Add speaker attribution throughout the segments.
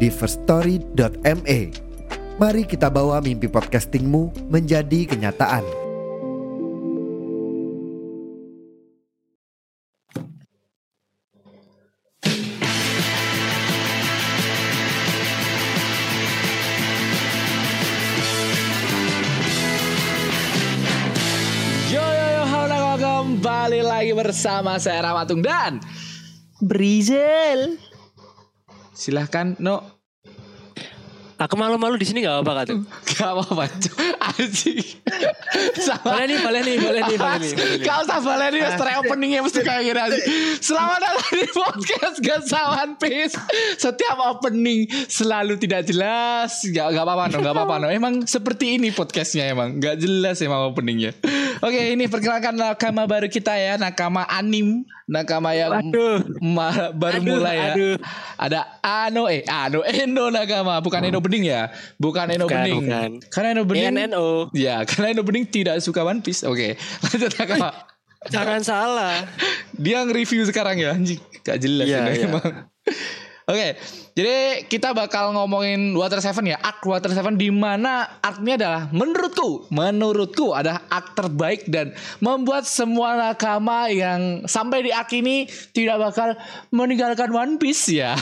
Speaker 1: di firststory.me. Mari kita bawa mimpi podcastingmu menjadi kenyataan.
Speaker 2: Yo yo yo, halo kembali lagi bersama saya Ramatung dan
Speaker 3: Brizel.
Speaker 2: silahkan no
Speaker 4: Aku malu-malu Nah, di sini nggak apa-apa
Speaker 2: Mm.
Speaker 4: kan?
Speaker 2: gak mau baca anjing
Speaker 4: Boleh
Speaker 2: sama
Speaker 4: nih, boleh nih, boleh nih, boleh nih. boleh nih. Ah.
Speaker 2: Gak usah balik nih, setelah openingnya mesti kayak gini anjing. Selamat datang di podcast Gesawan Peace Setiap opening selalu tidak jelas Gak, gak apa-apa no, gak apa-apa no Emang seperti ini podcastnya emang Gak jelas emang openingnya Oke ini perkenalkan nakama baru kita ya Nakama anim Nakama yang
Speaker 4: Waduh.
Speaker 2: ma- baru
Speaker 4: Aduh,
Speaker 2: mulai ya
Speaker 4: aduh.
Speaker 2: Ada Ano eh Ano Endo Nakama Bukan Eno Bening ya Bukan Eno
Speaker 4: Bukan,
Speaker 2: Bening
Speaker 4: bukan.
Speaker 2: Karena Eno Bening
Speaker 4: NNO.
Speaker 2: Ya, karena Eno Bening tidak suka One Piece. Oke, lanjut Nakama.
Speaker 4: Jangan salah.
Speaker 2: Dia nge-review sekarang ya, anjing. Gak jelas
Speaker 4: Iya,
Speaker 2: ini
Speaker 4: iya.
Speaker 2: emang. Oke, jadi kita bakal ngomongin Water Seven ya, arc Water Seven di mana arc-nya adalah menurutku, menurutku adalah arc terbaik dan membuat semua nakama yang sampai di arc ini tidak bakal meninggalkan One Piece ya.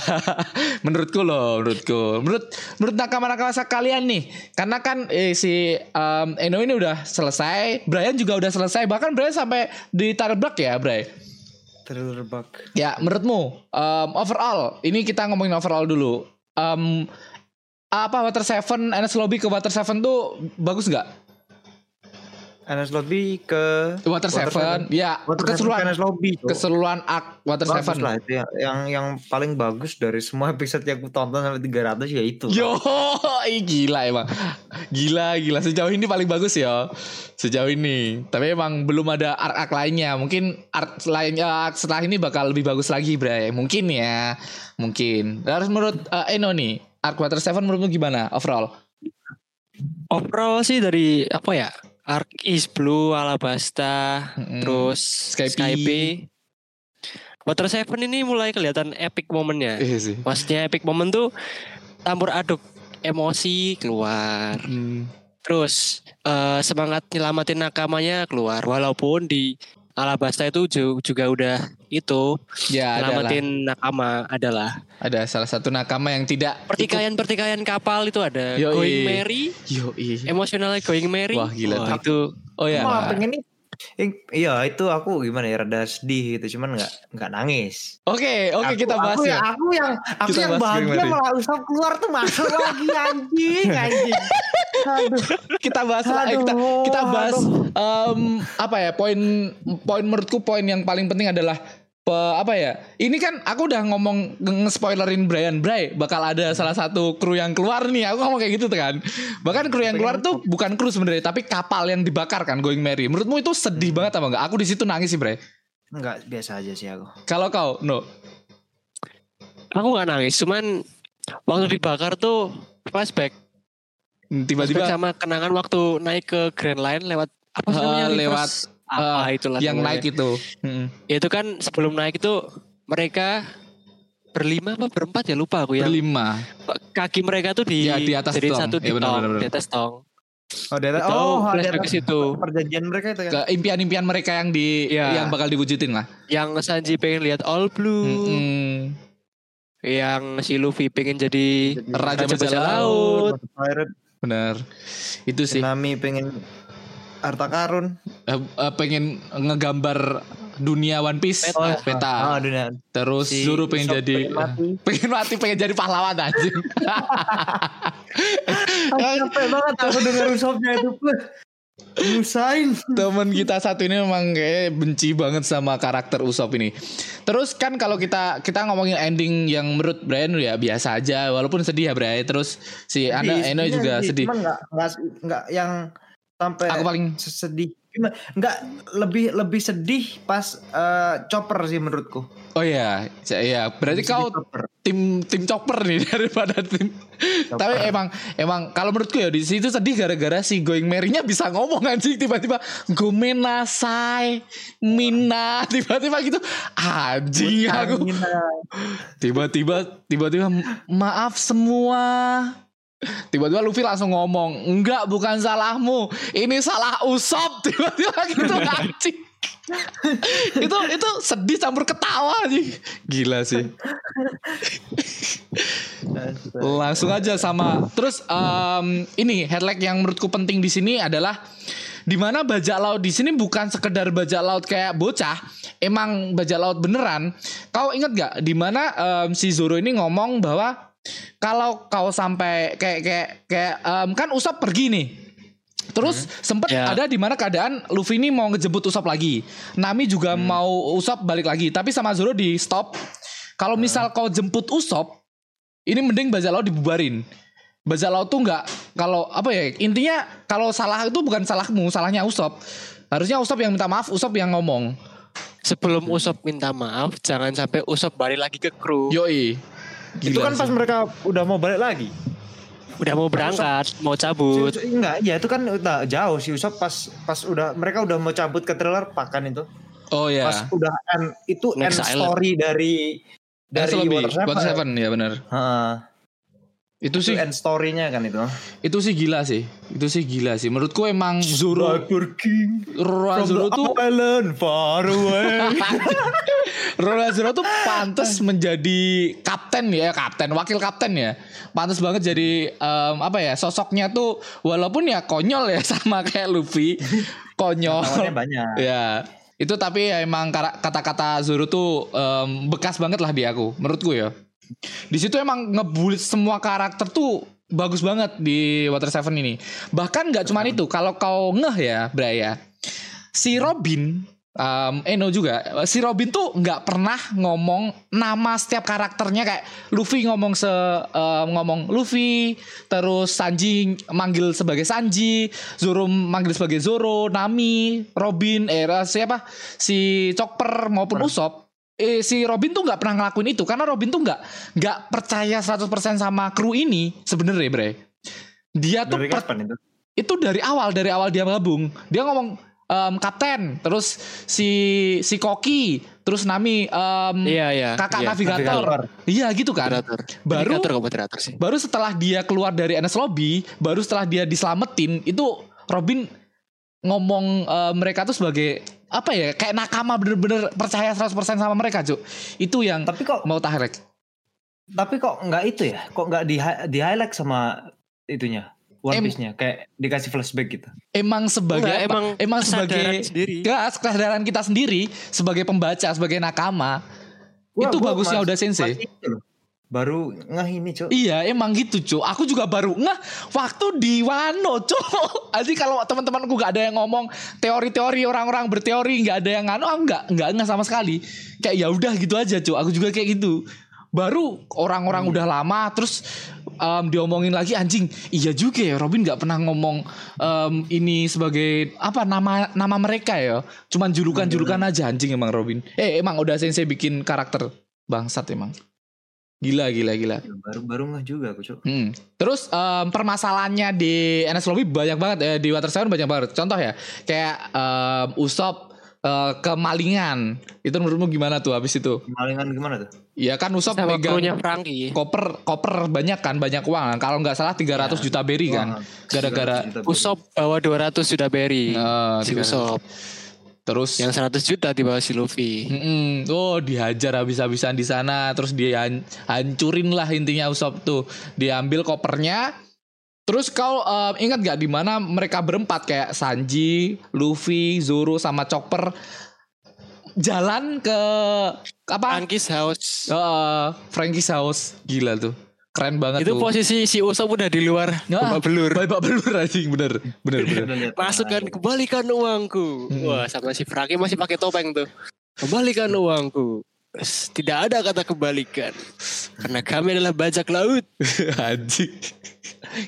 Speaker 2: menurutku loh, menurutku. Menurut menurut nakama-nakama kalian nih, karena kan eh, si em, Eno ini udah selesai, Brian juga udah selesai, bahkan Brian sampai ditabrak ya, Brian.
Speaker 3: Terlerbak.
Speaker 2: Ya, menurutmu um, overall ini kita ngomongin overall dulu. Um, apa Water Seven, NS Lobby ke Water Seven tuh bagus nggak?
Speaker 3: Anas Lobby ke
Speaker 2: Water, Seven, ya
Speaker 3: Water
Speaker 2: keseluruhan
Speaker 3: Seven ke Anas Lobby. Cok.
Speaker 2: keseluruhan arc Water
Speaker 3: Bagus
Speaker 2: Seven.
Speaker 3: lah itu ya. yang yang paling bagus dari semua episode yang aku tonton sampai 300 ya itu.
Speaker 2: Yo, ih, gila emang, gila gila sejauh ini paling bagus ya sejauh ini. Tapi emang belum ada arc arc lainnya. Mungkin arc lainnya arc setelah ini bakal lebih bagus lagi, Bray. Mungkin ya, mungkin. Harus menurut eh, Eno nih, arc Water Seven menurutmu gimana overall?
Speaker 4: Overall sih dari apa ya? Arc East Blue, Alabasta,
Speaker 2: Mm-mm.
Speaker 4: terus
Speaker 2: Skype.
Speaker 4: Skype. Water Seven ini mulai kelihatan epic momennya.
Speaker 2: Iya sih.
Speaker 4: Maksudnya epic moment tuh campur aduk emosi keluar.
Speaker 2: Hmm,
Speaker 4: Terus eh, semangat nyelamatin nakamanya keluar walaupun di Alabasta itu ju- juga udah itu
Speaker 2: Ya, ada lah.
Speaker 4: nyelamatin nakama adalah
Speaker 2: Ada salah satu nakama yang tidak
Speaker 4: pertikaian-pertikaian kapal itu ada
Speaker 2: Yoi.
Speaker 4: going merry
Speaker 2: Yo,
Speaker 4: emosionalnya going merry
Speaker 2: Wah, gila.
Speaker 4: Wah, itu
Speaker 2: Oh ya.
Speaker 3: Wah, pengen nih. Eh, Iya itu aku gimana ya rada sedih gitu cuman nggak nggak nangis.
Speaker 2: Oke, oke
Speaker 3: Aku-
Speaker 2: kita bahas
Speaker 3: aku
Speaker 2: ya.
Speaker 3: Aku yang aku
Speaker 2: Kita
Speaker 3: yang
Speaker 2: bahas
Speaker 3: bahagia
Speaker 2: gimana?
Speaker 3: malah usah keluar tuh masuk lagi anjing anjing. Aduh.
Speaker 2: Kita bahas lah, eh, kita
Speaker 3: Aduh,
Speaker 2: kita bahas em, apa ya? Poin poin menurutku poin yang paling penting adalah pe- apa ya? Ini kan aku udah ngomong nge-spoilerin Brian Bray bakal ada salah satu kru yang keluar nih. Aku ngomong kayak gitu tuh kan. Bahkan kru yang keluar tuh bukan kru sebenarnya, tapi kapal yang dibakar kan Going Merry. Menurutmu itu sedih banget apa enggak? Aku di situ nangis sih, Bray.
Speaker 3: Enggak biasa aja sih aku.
Speaker 2: Kalau kau, no.
Speaker 4: aku nggak nangis cuman waktu dibakar tuh flashback flashback
Speaker 2: Tiba-tiba
Speaker 4: sama kenangan waktu naik ke Grand Line lewat apa
Speaker 2: Eh,
Speaker 4: sih namanya
Speaker 2: lewat,
Speaker 4: Reverse apa
Speaker 2: eh,
Speaker 4: itulah
Speaker 2: yang
Speaker 4: namanya.
Speaker 2: naik itu. Mm-mm.
Speaker 4: itu kan sebelum naik itu mereka berlima apa berempat ya lupa aku yang
Speaker 2: Berlima.
Speaker 4: kaki mereka tuh di,
Speaker 2: Ya, di atas
Speaker 4: jadi
Speaker 2: tong.
Speaker 4: satu di
Speaker 2: Ya, benar,
Speaker 4: tong,
Speaker 2: benar, benar.
Speaker 4: di atas tong.
Speaker 3: Oh, dia,
Speaker 4: Itu
Speaker 3: oh, ada
Speaker 4: flashback ke situ.
Speaker 3: perjanjian mereka itu kan.
Speaker 2: ke impian-impian mereka yang di
Speaker 4: Iya.
Speaker 2: yang bakal diwujudin lah.
Speaker 4: Yang Sanji pengen lihat All
Speaker 2: Hmm.
Speaker 4: Blue,
Speaker 2: Mm-mm.
Speaker 4: yang si Luffy pengen jadi
Speaker 2: Raja
Speaker 4: Raja
Speaker 2: Bajak
Speaker 4: Bajak
Speaker 2: Laut.
Speaker 4: Laut.
Speaker 3: Mata Pirate,
Speaker 2: Bener. Itu sih
Speaker 3: Tsunami pengen harta karun.
Speaker 2: Eh, eh, pengen ngegambar dunia One Piece
Speaker 4: Peta.
Speaker 2: peta.
Speaker 3: Ah, dunia.
Speaker 2: Terus
Speaker 3: Si
Speaker 2: Zoro pengen
Speaker 3: Usopp
Speaker 2: jadi
Speaker 3: pengen mati.
Speaker 2: pengen mati pengen jadi pahlawan aja.
Speaker 3: Ah, capek banget aku dengar Usoppnya itu. Musain.
Speaker 2: Temen kita satu ini memang kayak benci banget sama karakter Usop ini. Terus kan kalau kita kita ngomongin ending yang menurut Brian ya biasa aja walaupun sedih ya Brian. Terus si Ya, Ana
Speaker 3: Sedih,
Speaker 2: Eno
Speaker 3: sedih,
Speaker 2: juga sedih.
Speaker 3: Cuman nggak nggak- nggak yang sampai
Speaker 2: Aku paling
Speaker 3: sedih. Gimana? Nggak lebih lebih sedih pas eh, chopper sih menurutku.
Speaker 2: Oh iya, iya. Berarti
Speaker 3: Lebih sedih
Speaker 2: kau
Speaker 3: chopper.
Speaker 2: tim tim chopper nih daripada tim. Tapi emang emang kalau menurutku ya di situ sedih gara-gara si Going Merry-nya bisa ngomong anjing tiba-tiba Gomenasai Mina tiba-tiba gitu. Anjing aku.
Speaker 3: Angin, eh,
Speaker 2: Tiba-tiba tiba-tiba maaf semua. Tiba-tiba Luffy langsung ngomong, "Enggak, bukan salahmu. Ini salah Usop." Tiba-tiba gitu anjing. itu itu sedih campur ketawa anjing. Gila sih. Langsung aja sama. Terus em, ini headline yang menurutku penting di sini adalah dimana bajak laut di sini bukan sekedar bajak laut kayak bocah, emang bajak laut beneran. Kau inget gak dimana em, si Zoro ini ngomong bahwa kalau kau sampai kayak kayak kayak em, kan Usop pergi nih. Terus sempet
Speaker 4: Ya.
Speaker 2: ada di mana keadaan Luffy ini mau ngejemput Usop lagi. Nami juga mau Usop balik lagi, tapi sama Zoro di stop. Kalau misal kau jemput Usop, ini mending bajak laut dibubarin. Bajak laut tuh nggak kalau apa ya intinya kalau salah itu bukan salahmu, salahnya Usop. Harusnya Usop yang minta maaf, Usop yang ngomong.
Speaker 4: Sebelum Usop minta maaf, jangan sampai Usop balik lagi ke kru.
Speaker 2: Yoi.
Speaker 3: itu
Speaker 2: Gila
Speaker 3: kan
Speaker 2: sih.
Speaker 3: pas mereka udah mau balik lagi.
Speaker 4: Udah mau berangkat, mau cabut.
Speaker 3: Si- si- Enggak, ya itu kan udah jauh sih Usop pas pas udah mereka udah mau cabut ke trailer pakan itu.
Speaker 2: Oh ya.
Speaker 3: Pas udah end, itu
Speaker 4: Next
Speaker 3: end
Speaker 4: Island.
Speaker 3: story dari dari
Speaker 2: Dari
Speaker 3: Water Seven.
Speaker 2: Water Seven ya benar.
Speaker 3: Heeh,
Speaker 2: Itu
Speaker 3: itu
Speaker 2: sih
Speaker 3: end story-nya kan itu.
Speaker 2: itu sih gila sih. Itu sih gila sih. Menurutku emang Zoro
Speaker 3: King
Speaker 2: Roa Zoro tuh
Speaker 3: island far away.
Speaker 2: Ronald Zero tuh
Speaker 3: Ah,
Speaker 2: pantas menjadi kapten ya, kapten, wakil kapten ya. Pantas banget jadi em, apa ya, sosoknya tuh walaupun ya konyol ya sama kayak Luffy.
Speaker 3: Lawannya
Speaker 2: Konyol.
Speaker 3: banyak.
Speaker 2: ya. Itu tapi ya emang kara- kata-kata Zoro tuh em, bekas banget lah di aku, menurutku ya. Di situ emang ngebulit semua karakter tuh bagus banget di Water Seven ini. Bahkan nggak cuman itu, kalau kau ngeh ya, Braya. Si Robin um, Eno juga si Robin tuh nggak pernah ngomong nama setiap karakternya kayak Luffy ngomong se um, ngomong Luffy terus Sanji manggil sebagai Sanji Zoro manggil sebagai Zoro Nami Robin era siapa si Chopper maupun Usopp eh, si Robin tuh nggak pernah ngelakuin itu karena Robin tuh nggak nggak percaya 100% sama kru ini sebenarnya bre dia tuh
Speaker 3: Dari
Speaker 2: per-
Speaker 3: kapan itu?
Speaker 2: itu dari awal dari awal dia gabung dia ngomong em, kapten terus si si koki terus nami em,
Speaker 4: Iya, iya.
Speaker 2: kakak
Speaker 4: iya.
Speaker 2: navigator
Speaker 3: navigator.
Speaker 2: iya gitu kan
Speaker 4: Moderator.
Speaker 2: Baru-
Speaker 4: Navigator kok moderator sih.
Speaker 2: baru setelah dia keluar dari NS lobby baru setelah dia diselamatin itu Robin ngomong eh, mereka tuh sebagai apa ya kayak nakama bener-bener percaya 100% sama mereka cuk itu yang
Speaker 3: Tapi kok
Speaker 2: mau tahrek
Speaker 3: tapi kok nggak itu ya? Kok nggak di di highlight sama itunya? One
Speaker 2: Em-
Speaker 3: Piece-nya kayak dikasih flashback gitu.
Speaker 2: emang sebagai
Speaker 4: Enggak,
Speaker 2: apa?
Speaker 4: emang
Speaker 2: emang
Speaker 4: kesadaran
Speaker 2: sebagai
Speaker 4: sendiri.
Speaker 2: Enggak, kesadaran kita sendiri sebagai pembaca sebagai nakama
Speaker 3: Wah,
Speaker 2: itu
Speaker 3: gua
Speaker 2: bagusnya
Speaker 3: mas-
Speaker 2: udah sensei
Speaker 3: masih itu loh. Baru ngeh ini, Cuk.
Speaker 2: Iya emang gitu cu Aku juga baru ngeh Waktu di Wano cu Jadi kalau teman-temanku gak ada yang ngomong Teori-teori orang-orang berteori Gak ada yang nganu Aku gak, nggak ngeh sama sekali Kayak ya udah gitu aja cu Aku juga kayak gitu Baru orang-orang udah lama Terus em, diomongin lagi anjing Iya juga ya Robin gak pernah ngomong em, Ini sebagai Apa nama nama mereka ya Cuman julukan-julukan aja anjing emang Robin Eh emang udah sensei bikin karakter Bangsat emang Gila gila gila
Speaker 3: Baru baru ngeh juga aku, Cuk.
Speaker 2: Hmm. Terus em, permasalahannya di NS Lobby banyak banget eh, di Water Seven banyak banget. Contoh ya, kayak em, Usop eh, kemalingan. Itu menurutmu gimana tuh habis itu?
Speaker 3: Malingan gimana tuh?
Speaker 2: Ya kan Usop
Speaker 4: Sama
Speaker 2: megang
Speaker 4: krunya Franky.
Speaker 2: koper koper banyak kan banyak uang. Kalau nggak salah
Speaker 4: Iya.
Speaker 2: 300 juta beri kan.
Speaker 3: Wah,
Speaker 2: Gara-gara
Speaker 3: 900 juta beli.
Speaker 4: Usop bawa 200 sudah beri.
Speaker 2: eh,
Speaker 4: si
Speaker 2: 300.
Speaker 4: Usop.
Speaker 2: Terus
Speaker 4: Yang 100 juta di bawah si Luffy.
Speaker 2: Mm-mm. Oh dihajar habis-habisan di sana, terus dihancurin lah intinya Usop tuh. Diambil kopernya. Terus kau em, ingat gak di mana mereka berempat kayak Sanji, Luffy, Zoro sama Chopper jalan ke apa?
Speaker 4: Frankie's House.
Speaker 2: Eh, Frankie's house gila tuh. keren banget
Speaker 4: itu
Speaker 2: tuh.
Speaker 4: posisi si Usop udah di luar
Speaker 2: Ah,
Speaker 4: babak belur
Speaker 2: babak belur anjing bener bener bener
Speaker 4: masukkan
Speaker 3: Nah, iya.
Speaker 4: kembalikan uangku
Speaker 2: Hmm.
Speaker 4: wah sama si Fraki masih pakai topeng tuh kembalikan uangku Terus, tidak ada kata kembalikan karena kami adalah bajak laut
Speaker 2: anjing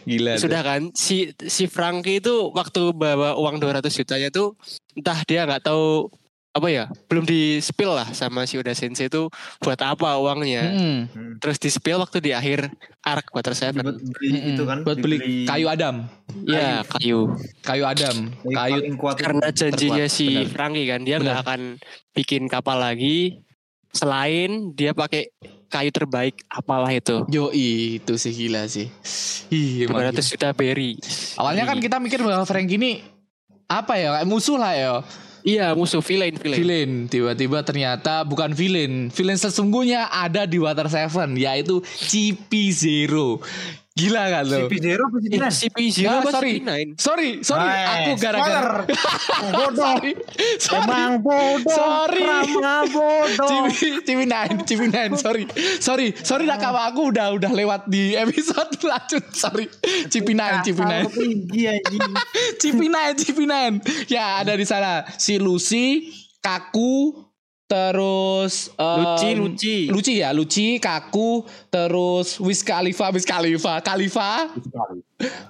Speaker 2: gila tuh.
Speaker 4: sudah kan si si Franky itu waktu bawa uang 200 jutanya tuh entah dia nggak tahu apa ya belum di spill lah sama si Uda Sensei itu buat apa uangnya
Speaker 2: Mm-mm.
Speaker 4: terus di spill waktu di akhir arc Water Seven
Speaker 2: Mm-mm.
Speaker 3: itu kan
Speaker 2: buat beli kayu Adam
Speaker 4: ya kayu
Speaker 2: kayu Adam kayu
Speaker 3: kayu kuat
Speaker 4: karena janjinya
Speaker 2: terkuat,
Speaker 4: si
Speaker 2: benar.
Speaker 4: Franky kan dia nggak akan bikin kapal lagi selain dia pakai kayu terbaik apalah itu
Speaker 2: yo itu sih gila sih Ih, emang
Speaker 4: 200
Speaker 2: gila.
Speaker 4: juta berry
Speaker 2: awalnya kan kita mikir bahwa Frank ini apa ya kayak musuh lah ya
Speaker 4: iya musuh villain villain,
Speaker 2: villain tiba-tiba ternyata bukan villain villain sesungguhnya ada di Water Seven yaitu CP Zero gila kan lo
Speaker 3: CP0 apa
Speaker 4: Ih,
Speaker 3: CP9?
Speaker 4: CP0
Speaker 2: Ah,
Speaker 4: apa
Speaker 2: sorry.
Speaker 4: CP9?
Speaker 2: sorry sorry
Speaker 3: Nice.
Speaker 2: aku gara-gara
Speaker 3: Eh, Spoiler. Oh, bodoh
Speaker 2: sorry sorry
Speaker 3: emang bodoh
Speaker 2: Sorry.
Speaker 3: Rama bodoh
Speaker 2: Cibi, Cibi Nine, Cibi Nine, sorry, sorry, sorry, nakama aku udah udah lewat di episode lanjut, sorry, Cibi Nine, Cibi Nine.
Speaker 3: iya anjing
Speaker 2: Cipinai, Cipinai. Ya ada di sana si Lucy, Kaku, terus em,
Speaker 4: Lucy, Lucy.
Speaker 2: Lucy ya, Lucy, Kaku, terus Wiz Khalifa, Wiz Khalifa, Khalifa,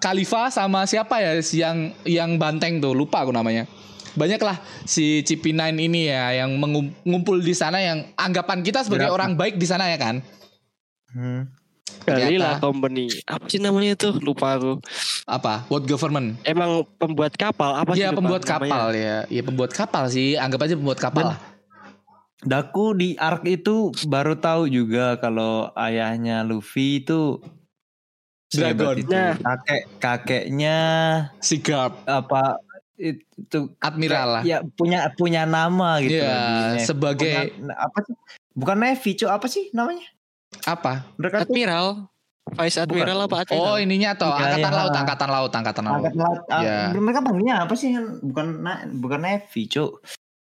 Speaker 2: Khalifa sama siapa ya si yang yang banteng tuh, lupa aku namanya. Banyaklah si Cipinai ini ya yang mengum- ngumpul di sana yang anggapan kita sebagai
Speaker 3: Berapa?
Speaker 2: orang baik di sana ya kan.
Speaker 3: Hmm.
Speaker 4: Galila
Speaker 2: Ternyata.
Speaker 4: Company. Apa sih namanya tuh? Lupa aku.
Speaker 2: Apa? World Government.
Speaker 4: Emang pembuat kapal apa sih?
Speaker 2: Iya
Speaker 4: lupa
Speaker 2: pembuat
Speaker 4: namanya.
Speaker 2: kapal ya. Iya pembuat kapal sih, anggap aja pembuat kapal. lah.
Speaker 3: Daku di arc itu baru tahu juga kalau ayahnya Luffy itu
Speaker 2: Dragon.
Speaker 3: sehebat itu.
Speaker 4: Nah.
Speaker 3: Kakek kakeknya
Speaker 2: Si Garp.
Speaker 3: apa itu
Speaker 2: Admiral lah.
Speaker 3: ya punya punya nama gitu.
Speaker 2: Iya,
Speaker 3: di Navy.
Speaker 2: sebagai-
Speaker 3: Punya- apa sih? Bukan Navy, cu, apa sih namanya?
Speaker 2: Apa?
Speaker 3: Mereka tuh
Speaker 4: Admiral. Vice Admiral apa Admiral?
Speaker 2: Oh ininya toh
Speaker 3: Iya,
Speaker 2: angkatan
Speaker 3: iya.
Speaker 2: laut, angkatan laut, angkatan laut.
Speaker 3: angkat laut. ah,
Speaker 2: Iya.
Speaker 3: Mereka panggilnya apa sih? Bukan na- bukan Navy, cu.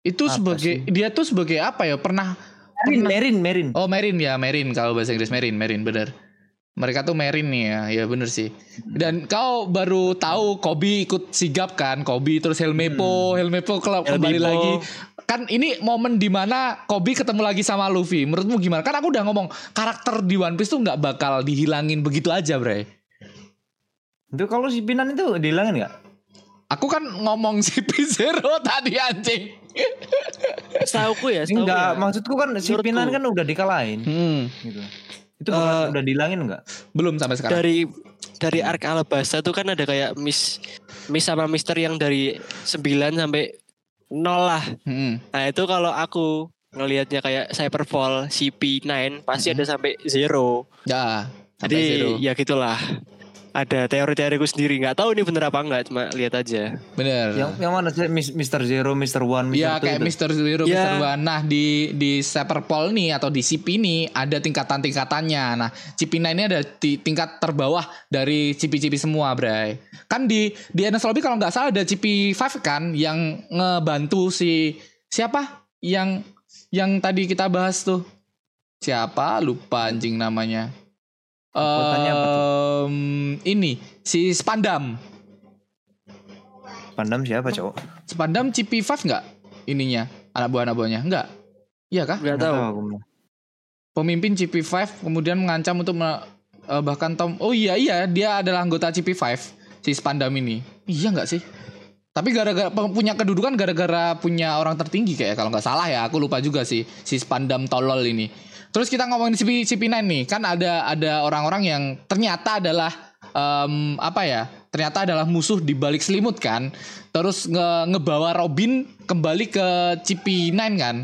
Speaker 2: Itu
Speaker 3: Apa
Speaker 2: sebagai
Speaker 3: sih?
Speaker 2: dia tuh sebagai apa ya? Pernah
Speaker 3: Marine,
Speaker 2: Pernah-
Speaker 3: Marine, Marine.
Speaker 2: Oh Marine ya, Marine kalau bahasa Inggris Marine, Marine bener. Mereka tuh Marine nih ya, ya bener sih. Dan kau baru tahu Kobi ikut sigap kan, Kobi terus Helmepo,
Speaker 3: Hmm.
Speaker 2: Helmepo kalau kembali
Speaker 4: Helmepo.
Speaker 2: lagi. Kan ini momen dimana Kobi ketemu lagi sama Luffy. Menurutmu gimana? Kan aku udah ngomong karakter di One Piece tuh nggak bakal dihilangin begitu aja, Bre.
Speaker 3: Itu kalau si Pinan itu dihilangin nggak?
Speaker 2: Aku kan ngomong CP0 tadi anjing.
Speaker 4: Setauku ya, setauku
Speaker 3: Enggak,
Speaker 4: ya.
Speaker 3: maksudku kan si
Speaker 4: Menurutku.
Speaker 3: Pinan kan udah dikalahin.
Speaker 2: Hmm.
Speaker 3: gitu. Itu bakal
Speaker 4: Eh,
Speaker 3: udah dihilangin nggak?
Speaker 2: Belum sampai sekarang.
Speaker 4: Dari dari Ark Alabasta tuh kan ada kayak Miss Miss sama Mister yang dari 9 sampai 0 lah.
Speaker 2: Mm-mm.
Speaker 4: Nah, itu kalau aku ngelihatnya kayak Cyberfall CP9 pasti ada sampai zero.
Speaker 2: Ya, sampai
Speaker 4: Jadi
Speaker 2: zero.
Speaker 4: ya gitulah. Ada teori-teoriku sendiri nggak tahu ini bener apa enggak cuma lihat aja.
Speaker 2: Bener.
Speaker 3: Yang yang mana sih Mis- Mr. Zero, Mr. One, Mr.
Speaker 4: Iya,
Speaker 2: Ya
Speaker 3: Two
Speaker 2: kayak
Speaker 3: itu?
Speaker 2: Mister Zero, Mister
Speaker 4: Ya.
Speaker 2: One. Nah di di Seperpol nih atau di CP ini ada tingkatan tingkatannya. Nah CP9 ini ada di tingkat terbawah dari CP-CP semua, Bray. Kan di di NS Lobby kalau nggak salah ada CP5 kan yang ngebantu si siapa yang yang tadi kita bahas tuh siapa lupa anjing namanya.
Speaker 3: Kekuatannya apa tuh?
Speaker 2: Em, ini si Spandam.
Speaker 3: Pandam siapa cowok?
Speaker 2: Spandam CP5 nggak ininya anak buah anak buahnya nggak iya kah
Speaker 4: Enggak
Speaker 3: Nggak
Speaker 4: tahu.
Speaker 3: aku.
Speaker 2: pemimpin CP5 kemudian mengancam untuk me- eh, bahkan Tom oh iya iya dia adalah anggota CP5 si Spandam ini iya nggak sih tapi gara-gara pe- punya kedudukan gara-gara punya orang tertinggi kayak kalau nggak salah ya aku lupa juga sih si Spandam tolol ini terus kita ngomongin CP CP9 nih kan ada ada orang-orang yang ternyata adalah em, apa ya ternyata adalah musuh di balik selimut kan terus nge- ngebawa Robin kembali ke CP9 kan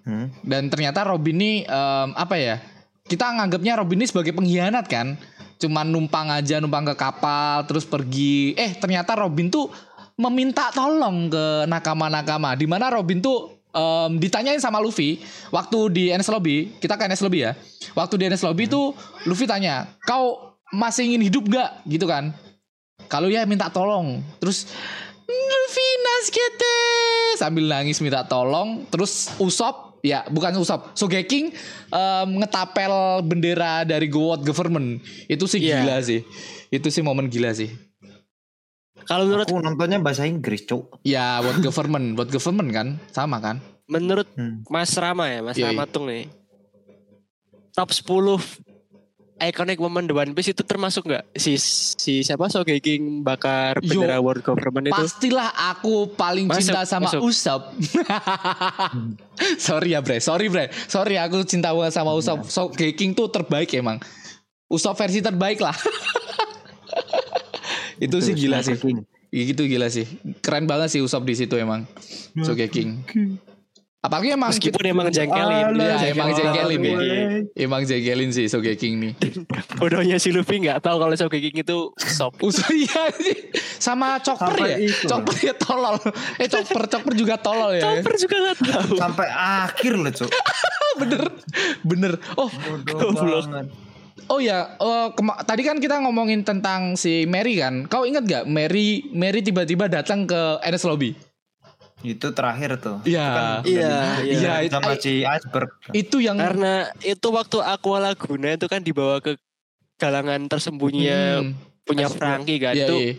Speaker 3: Hmm.
Speaker 2: dan ternyata Robin ini em, apa ya? Kita nganggapnya Robin ini sebagai pengkhianat kan? Cuman numpang aja numpang ke kapal terus pergi. Eh ternyata Robin tuh meminta tolong ke nakama-nakama. Di mana Robin tuh em, ditanyain sama Luffy waktu di NS Lobby, kita ke NS Lobby ya. Waktu di NS Lobby tuh Luffy tanya, "Kau masih ingin hidup gak?" gitu kan. Kalau ya minta tolong. Terus Luffy naskete sambil nangis minta tolong. Terus Usop ya bukan Usop. Sogeking em, ngetapel bendera dari Goat Government. Itu sih
Speaker 4: Iya.
Speaker 2: gila sih. Itu sih momen gila sih.
Speaker 4: Kalau menurut
Speaker 3: Aku nontonnya bahasa Inggris, Cuk.
Speaker 2: Ya, buat government, buat government kan, sama kan?
Speaker 4: menurut
Speaker 3: Hmm.
Speaker 4: Mas Rama ya, Mas
Speaker 2: Iya,
Speaker 4: Rama Tung nih. Top 10 iconic moment The One Piece itu termasuk nggak si si siapa Sogeking bakar
Speaker 2: Yo,
Speaker 4: bendera World Government itu?
Speaker 2: Pastilah aku paling
Speaker 4: Masuk,
Speaker 2: cinta sama
Speaker 4: masuk.
Speaker 2: Usop. sorry ya bre, sorry bre, sorry aku cinta banget sama
Speaker 4: Iya.
Speaker 2: Usop. So, King tuh terbaik emang. Usop versi terbaik lah. itu sih gila sih. Iya,
Speaker 3: King.
Speaker 2: Itu gila sih. Keren banget sih Usop di situ emang. So King. Apalagi emang
Speaker 4: Meskipun emang jengkelin,
Speaker 3: Alah,
Speaker 2: Iya,
Speaker 4: jengkel
Speaker 2: emang gitu. jengkelin
Speaker 4: banget
Speaker 2: nih.
Speaker 4: gue.
Speaker 2: Emang jegelin sih So King nih.
Speaker 4: Bodohnya si Luffy nggak tahu kalau Sogeking itu sop.
Speaker 2: Usop iya sih. Sama Chopper
Speaker 3: Sampai
Speaker 2: ya.
Speaker 3: itu.
Speaker 2: Chopper ya tolol. Eh Chopper Chopper juga tolol ya.
Speaker 4: Chopper juga nggak tahu.
Speaker 3: Sampai akhir loh, Cuk.
Speaker 2: bener bener oh
Speaker 3: Bodoh
Speaker 4: Goblok.
Speaker 3: banget.
Speaker 2: oh ya eh, kema- tadi kan kita ngomongin tentang si Mary kan kau ingat gak Mary Mary tiba-tiba datang ke NS Lobby
Speaker 3: Itu terakhir tuh.
Speaker 2: Iya.
Speaker 4: Iya, iya.
Speaker 2: Iya, it-
Speaker 3: Sama si iceberg.
Speaker 4: kan
Speaker 2: itu yang
Speaker 4: Karena itu waktu Aqua Laguna itu kan dibawa ke galangan tersembunyinya
Speaker 2: Hmm.
Speaker 4: punya
Speaker 2: Iceberg.
Speaker 4: Franky kan.
Speaker 2: Iya,
Speaker 4: iya. itu
Speaker 2: iya.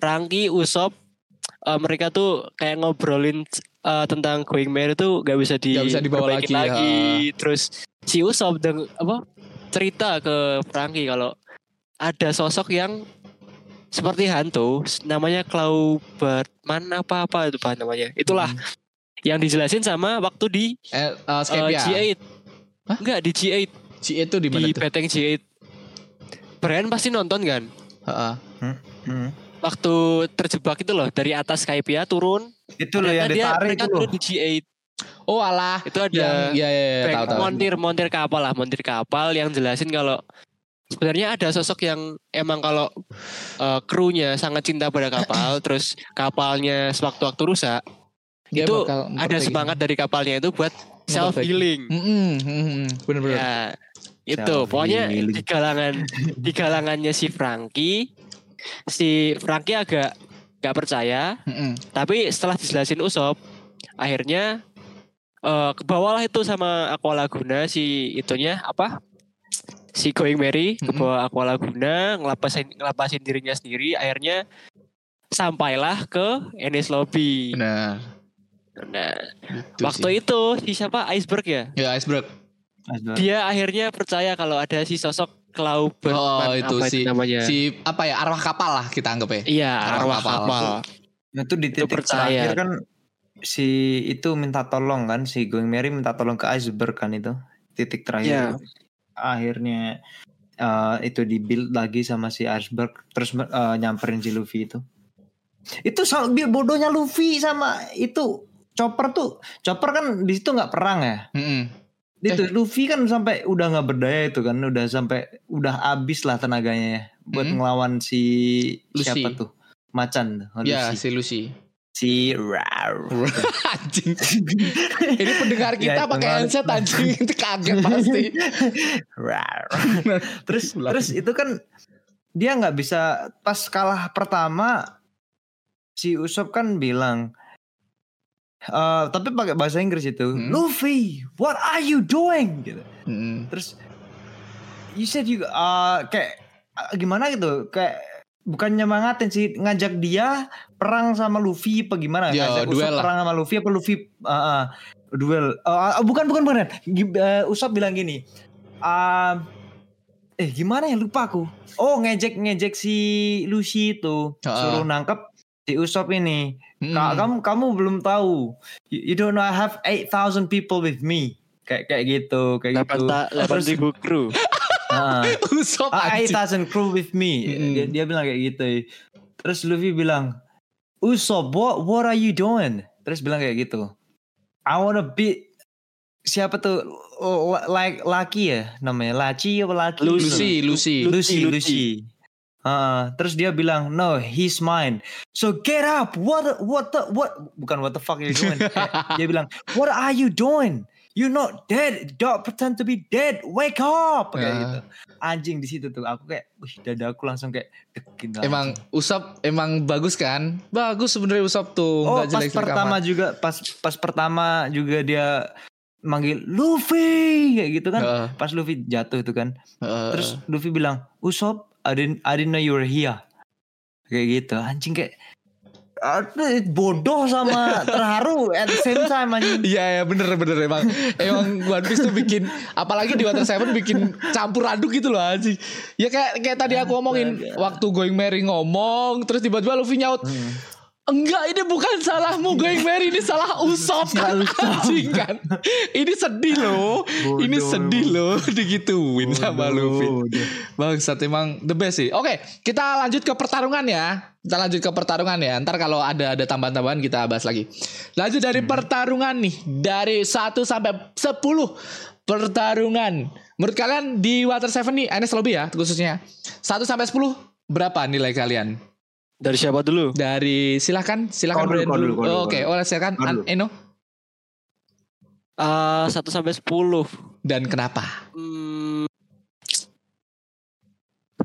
Speaker 4: Franky, Usop eh, mereka tuh kayak ngobrolin eh, tentang Going Merry tuh gak bisa di
Speaker 2: Nggak bisa dibawa
Speaker 4: perbaikin
Speaker 2: lagi,
Speaker 4: Terus si Usop deng, apa cerita ke Franky kalau ada sosok yang seperti hantu namanya Claubert mana apa apa itu apa namanya. Itulah
Speaker 2: Hmm.
Speaker 4: yang dijelasin sama waktu di
Speaker 2: eh, eh,
Speaker 4: eh,
Speaker 2: Skype ya
Speaker 4: G8.
Speaker 2: Hah?
Speaker 4: Enggak di G8
Speaker 2: Ci itu di mana
Speaker 4: di
Speaker 2: tuh
Speaker 4: Beteng G8. Brian pasti nonton kan?
Speaker 2: Heeh.
Speaker 3: Hmm.
Speaker 4: Waktu terjebak itu loh dari atas Skypia turun.
Speaker 3: Itu loh
Speaker 4: ternyata
Speaker 3: yang
Speaker 4: dia-
Speaker 3: ditarik
Speaker 4: mereka
Speaker 3: itu loh.
Speaker 4: turun di G8.
Speaker 2: oh alah
Speaker 4: Itu ada
Speaker 2: yang ya ya ya
Speaker 3: iya,
Speaker 4: back-
Speaker 2: tahu tahu
Speaker 4: montir montir kapal lah, montir kapal yang jelasin kalau sebenarnya ada sosok yang emang kalau eh, krunya sangat cinta pada kapal, terus kapalnya sewaktu-waktu rusak,
Speaker 2: Dia
Speaker 4: itu
Speaker 2: bakal
Speaker 4: ada
Speaker 2: memperbaiki.
Speaker 4: semangat dari kapalnya itu buat
Speaker 2: Memperbaiki.
Speaker 4: self healing.
Speaker 2: Mm-mm, mm-mm. bener bener
Speaker 4: Ya, itu
Speaker 3: Selfie.
Speaker 4: pokoknya di kalangan di kalangannya si Franky si Franky agak nggak percaya
Speaker 2: Mm-mm.
Speaker 4: tapi setelah dijelasin Usop akhirnya eh ke bawah lah itu sama Aqua Laguna si itunya apa si Going Merry ke
Speaker 2: Mm-mm.
Speaker 4: bawah Aqua Laguna ngelapasin ngelapasin dirinya sendiri akhirnya sampailah ke Enes Lobby.
Speaker 2: bener
Speaker 4: Nah,
Speaker 2: Itu sih. Nah.
Speaker 4: waktu itu si siapa Iceberg ya?
Speaker 2: ya iceberg
Speaker 3: Iceberg.
Speaker 4: dia akhirnya percaya kalau ada si sosok Klauber
Speaker 2: oh itu
Speaker 4: apa
Speaker 2: si
Speaker 4: namanya
Speaker 2: si apa ya arwah kapal lah kita anggap ya
Speaker 4: iya
Speaker 2: arwah
Speaker 4: arwah
Speaker 2: kapal.
Speaker 4: kapal
Speaker 3: Nah, itu di
Speaker 4: Itu
Speaker 3: titik
Speaker 4: percaya.
Speaker 3: terakhir kan si itu minta tolong kan si Going Merry minta tolong ke iceberg kan itu
Speaker 4: Iya.
Speaker 3: titik terakhir akhirnya eh, itu dibuild lagi sama si iceberg terus eh, nyamperin si Luffy itu itu soal bi- bodohnya Luffy sama itu Chopper tuh Chopper kan di situ nggak perang ya
Speaker 2: Mm-mm.
Speaker 4: Eh.
Speaker 3: itu Luffy kan sampai udah nggak berdaya itu kan udah sampai udah abis lah tenaganya ya buat
Speaker 2: Hmm.
Speaker 3: ngelawan si
Speaker 2: Lucy.
Speaker 3: siapa tuh macan tuh
Speaker 4: Iya,
Speaker 2: ya
Speaker 3: Lucy.
Speaker 2: si Lucy
Speaker 3: si Rar.
Speaker 2: anjing. Ini pendengar kita
Speaker 3: Ya, itu
Speaker 2: pakai
Speaker 3: ngaruh.
Speaker 2: headset anjing itu kaget pasti.
Speaker 3: Rar. terus terus itu kan dia nggak bisa pas kalah pertama si Usop kan bilang eh tapi pakai bahasa Inggris itu
Speaker 2: Hmm.
Speaker 3: Luffy what are you doing gitu
Speaker 2: Mm-mm.
Speaker 3: terus you said you uh, kayak uh, gimana gitu kayak bukan nyemangatin sih ngajak dia perang sama Luffy apa gimana
Speaker 2: Ya,
Speaker 3: ngajak Usopp
Speaker 2: duel lah.
Speaker 3: perang sama Luffy apa Luffy uh, uh, duel Uh, uh, bukan bukan bukan Gi- uh, Usopp bilang gini um, eh gimana ya lupa aku oh ngejek ngejek si Lucy itu
Speaker 2: Ha-ha.
Speaker 3: suruh nangkep si Usopp ini
Speaker 2: Mm-mm.
Speaker 3: Ka- Nah, kamu kamu belum tahu. You, you don't know I have 8000 people with me. Kayak kayak gitu, kayak
Speaker 4: delapan
Speaker 3: gitu.
Speaker 4: ta- delapan
Speaker 3: Terus,
Speaker 4: ribu kru
Speaker 3: ah,
Speaker 2: Usop
Speaker 3: I
Speaker 2: anjing.
Speaker 3: 8000 crew with me.
Speaker 2: Mm-mm.
Speaker 3: Dia, dia bilang kayak gitu. Terus Luffy bilang, "Usopp, what what are you doing?" Terus bilang kayak gitu. I wanna beat siapa tuh L- like Lucky ya namanya Laci apa Lucky
Speaker 2: Lucy, Lucy.
Speaker 3: Lucy,
Speaker 4: Lucy.
Speaker 3: Lucy. Ah, terus dia bilang, no, he's mine. So get up. What, the- what, the, what? Bukan what the fuck are you doing? Eh, dia bilang, what are you doing? You're not dead. Don't pretend to be dead. Wake up. Kayak
Speaker 2: Ah.
Speaker 3: gitu. Anjing di situ tuh. Aku kayak, wih, dada aku langsung kayak dekin. lah.
Speaker 2: Emang Usop emang bagus kan? Bagus sebenarnya Usop tuh.
Speaker 3: Oh,
Speaker 2: nggak
Speaker 3: pas
Speaker 2: jelek-jelek
Speaker 3: pertama
Speaker 2: amat.
Speaker 3: juga, pas pas pertama juga dia manggil Luffy kayak gitu kan.
Speaker 2: Heeh.
Speaker 3: Pas Luffy jatuh itu kan.
Speaker 2: Heeh.
Speaker 3: Terus Luffy bilang, Usopp, I didn't, I didn't know you were here. Kayak gitu, anjing kayak aduh, bodoh sama terharu at the same time anjing.
Speaker 2: Iya ya bener bener emang emang One Piece tuh bikin apalagi di Water Seven bikin campur aduk gitu loh anjing. Ya kayak kayak tadi aku ngomongin waktu Going Merry ngomong terus tiba-tiba Luffy nyaut.
Speaker 3: Hmm.
Speaker 2: Enggak ini bukan salahmu Going Merry ini salah Usopp kan anjing kan. Ini sedih loh. ini
Speaker 3: Bodoh
Speaker 2: sedih loh digituin sama Luffy. Bangsat emang the best sih. Oke, kita lanjut ke pertarungan ya. Kita lanjut ke pertarungan ya. Ntar kalau ada ada tambahan-tambahan kita bahas lagi. Lanjut dari pertarungan nih dari 1 sampai 10 pertarungan. Menurut kalian di Water Seven nih NS Lobby ya khususnya. 1 sampai 10 berapa nilai kalian?
Speaker 4: Dari siapa dulu?
Speaker 2: Dari silahkan silahkan
Speaker 3: Kau dulu,
Speaker 2: Brian
Speaker 3: kau dulu, kau dulu,
Speaker 2: Oh, Oke,
Speaker 3: kau
Speaker 2: oleh silakan
Speaker 3: Kau
Speaker 2: An-
Speaker 3: dulu.
Speaker 2: Eno
Speaker 4: Eh, Satu sampai sepuluh.
Speaker 2: dan kenapa?
Speaker 4: Hmm,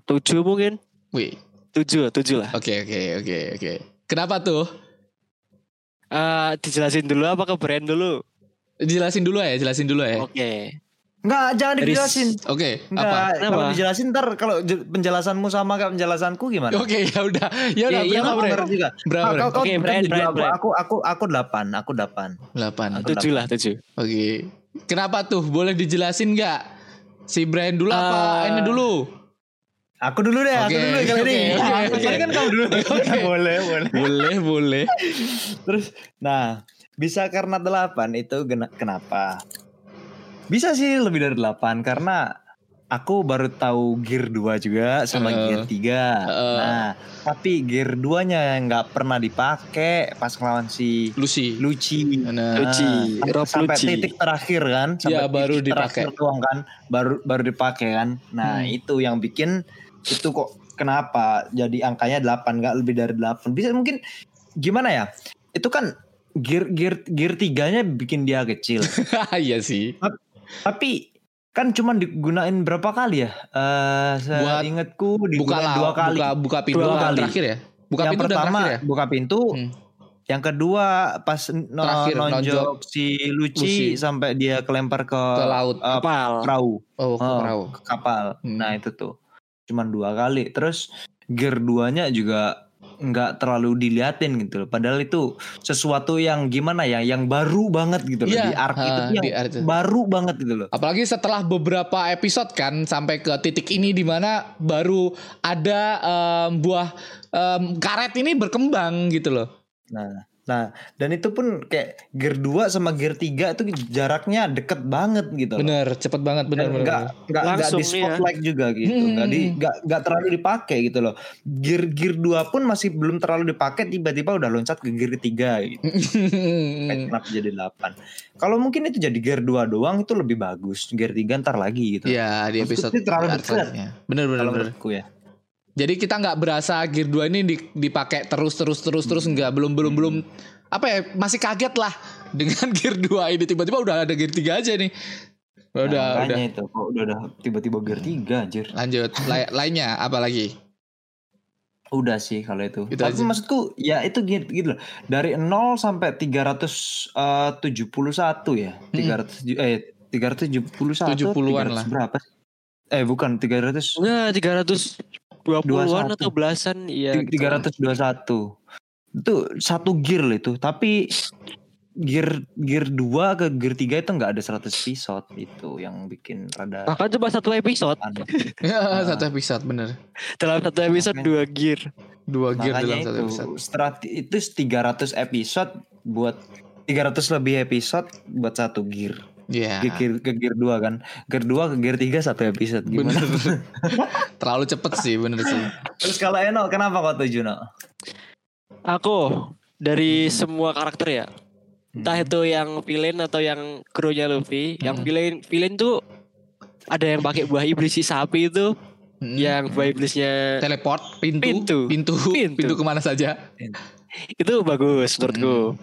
Speaker 4: tujuh mungkin?
Speaker 2: Wih.
Speaker 4: Tujuh, tujuh lah.
Speaker 2: Oke oke oke oke. Kenapa tuh?
Speaker 4: Eh, dijelasin dulu apa ke brand dulu?
Speaker 2: Jelasin dulu ya, jelasin dulu ya. Oke,
Speaker 4: Oke.
Speaker 3: Enggak, jangan
Speaker 4: Dari-
Speaker 3: dijelasin.
Speaker 2: apa?
Speaker 3: Enggak, kalau
Speaker 4: Kenapa?
Speaker 3: dijelasin ntar kalau je- penjelasanmu sama kayak penjelasanku gimana?
Speaker 2: Oke ya udah ya udah
Speaker 4: Iya, iya,
Speaker 2: berapa
Speaker 4: Bro.
Speaker 2: Bren?
Speaker 3: Bener juga.
Speaker 2: Berapa
Speaker 3: Ah,
Speaker 2: Bren?
Speaker 3: kau- kau
Speaker 4: Oke,
Speaker 3: berapa
Speaker 4: Brian,
Speaker 3: juga?
Speaker 4: Brian,
Speaker 3: Aku-
Speaker 4: Brian.
Speaker 3: Aku aku aku 8, aku 8.
Speaker 2: Delapan. Oke.
Speaker 4: Tujuh lah, tujuh.
Speaker 2: Eh, Kenapa tuh? Boleh dijelasin nggak? Si Brian dulu apa
Speaker 4: Eh,
Speaker 2: ini dulu?
Speaker 3: Aku dulu deh, aku
Speaker 2: Oke,
Speaker 3: dulu kali
Speaker 2: oke,
Speaker 3: ini.
Speaker 2: oke,
Speaker 3: Aku-
Speaker 2: oke.
Speaker 3: Tadi kan kamu dulu.
Speaker 2: Oke.
Speaker 3: boleh, boleh.
Speaker 2: Boleh boleh.
Speaker 3: Terus, nah, bisa karena 8 itu gena- kenapa? Bisa sih lebih dari 8 karena aku baru tahu gear 2 juga sama
Speaker 2: Eh.
Speaker 3: gear 3.
Speaker 2: Eh.
Speaker 3: Nah, tapi gear 2-nya nggak pernah dipakai pas ngelawan si
Speaker 2: Lucy.
Speaker 3: Luci.
Speaker 2: Nah,
Speaker 4: Luci,
Speaker 3: Ah, sampai-
Speaker 4: Rob
Speaker 3: sampai
Speaker 4: Luci.
Speaker 3: titik terakhir kan, sampai
Speaker 2: Iya, baru
Speaker 3: titik terakhir
Speaker 2: dipakai.
Speaker 3: doang kan, baru baru dipakai kan. Nah,
Speaker 2: Hmm.
Speaker 3: itu yang bikin itu kok kenapa jadi angkanya 8 nggak lebih dari 8. Bisa mungkin gimana ya? Itu kan gear gear gear tiganya bikin dia kecil.
Speaker 2: iya sih.
Speaker 3: Tapi kan cuman digunain berapa kali ya? Eh,
Speaker 2: Buat
Speaker 3: seingetku
Speaker 2: Buka
Speaker 3: digunain
Speaker 2: lah.
Speaker 3: dua kali.
Speaker 2: Buka buka pintu
Speaker 3: Dua
Speaker 2: dan
Speaker 3: kali.
Speaker 2: terakhir ya. Buka
Speaker 3: yang
Speaker 2: pintu dan
Speaker 3: pertama
Speaker 2: terakhir ya.
Speaker 3: buka pintu,
Speaker 2: Hmm.
Speaker 3: yang kedua pas no,
Speaker 2: Terakhir,
Speaker 3: nonjok,
Speaker 2: nonjok
Speaker 3: si Luci,
Speaker 2: Lucy.
Speaker 3: sampai dia kelempar ke,
Speaker 2: Ke laut.
Speaker 3: eh,
Speaker 4: Kapal.
Speaker 3: perahu,
Speaker 2: Oh, ke
Speaker 3: Oh,
Speaker 2: perahu.
Speaker 3: ke kapal.
Speaker 2: Hmm.
Speaker 3: Nah itu tuh cuman dua kali. Terus gear duanya juga nggak terlalu diliatin gitu loh. Padahal itu sesuatu yang gimana ya, yang baru banget gitu loh
Speaker 2: Iya,
Speaker 3: di arc itu
Speaker 2: ah,
Speaker 3: tuh yang
Speaker 2: di arc itu.
Speaker 3: baru banget gitu loh.
Speaker 2: Apalagi setelah beberapa episode kan sampai ke titik ini di mana baru ada em, buah em, karet ini berkembang gitu loh.
Speaker 3: Nah, nah dan itu pun kayak gear 2 sama gear 3 itu jaraknya deket banget gitu loh.
Speaker 2: Bener, cepet banget bener
Speaker 3: Dan
Speaker 2: bener.
Speaker 3: nggak
Speaker 2: bener.
Speaker 3: nggak nggak
Speaker 4: Langsung
Speaker 3: di
Speaker 4: ya.
Speaker 3: spotlight juga gitu nggak di
Speaker 2: Hmm.
Speaker 3: nggak nggak terlalu dipakai gitu loh gear gear 2 pun masih belum terlalu dipakai tiba-tiba udah loncat ke gear 3 gitu Kayak
Speaker 2: Hmm.
Speaker 3: kenapa jadi 8 kalau mungkin itu jadi gear 2 doang itu lebih bagus gear 3 ntar lagi gitu
Speaker 2: Iya di episode
Speaker 3: Maksudnya terlalu
Speaker 2: di arc
Speaker 3: dekat.
Speaker 2: selanjutnya. Bener bener
Speaker 3: kalau
Speaker 2: bener.
Speaker 3: menurutku ya
Speaker 2: Jadi kita nggak berasa gear 2 ini di- dipakai terus terus terus terus
Speaker 3: Hmm.
Speaker 2: nggak belum belum belum apa ya masih kaget lah dengan gear 2 ini tiba-tiba udah ada gear 3 aja nih. Ya Udah
Speaker 3: Nah,
Speaker 2: udah
Speaker 3: makanya itu kok udah udah tiba-tiba gear 3 anjir
Speaker 2: lanjut Lai- lainnya apa lagi?
Speaker 3: udah sih kalau itu,
Speaker 2: Itu
Speaker 3: tapi
Speaker 2: Gitu aja.
Speaker 3: maksudku ya itu gitu, gitu loh dari 0 sampai eh, 371 ya 300 eh 371
Speaker 2: 70-an Hmm. lah.
Speaker 3: 300 berapa sih? eh bukan 300
Speaker 4: Nah, tiga ratus dua an
Speaker 3: 21.
Speaker 4: atau belasan, iya.
Speaker 3: ti- 321 itu satu gear loh itu tapi gear gear 2 ke gear 3 itu nggak ada 100 episode itu yang bikin rada
Speaker 4: Bahkan cuma satu episode.
Speaker 3: aneh.
Speaker 2: Iya,
Speaker 4: Ah.
Speaker 2: satu episode bener.
Speaker 4: Dalam satu episode dua gear.
Speaker 2: Dua gear dalam
Speaker 3: Makanya
Speaker 2: satu
Speaker 3: itu
Speaker 2: episode.
Speaker 3: strati itu 300 episode buat 300 lebih episode buat satu gear.
Speaker 4: Nah.
Speaker 2: Iya.
Speaker 3: Ke gear, ke gear 2 kan. Gear 2 ke gear 3 satu episode
Speaker 2: Bener.
Speaker 3: gimana?
Speaker 2: Terlalu cepet sih bener sih.
Speaker 3: Terus kalau Eno kenapa kau tujuh Eno?
Speaker 4: Aku dari semua karakter ya. Entah itu yang villain atau yang krunya Luffy, yang villain villain tuh ada yang pakai buah iblis si sapi itu,
Speaker 2: Hmm.
Speaker 4: yang buah iblisnya
Speaker 2: Teleport pintu
Speaker 4: Iya. Pintu.
Speaker 2: pintu pintu,
Speaker 4: Pintu.
Speaker 2: kemana saja?
Speaker 4: itu bagus menurutku.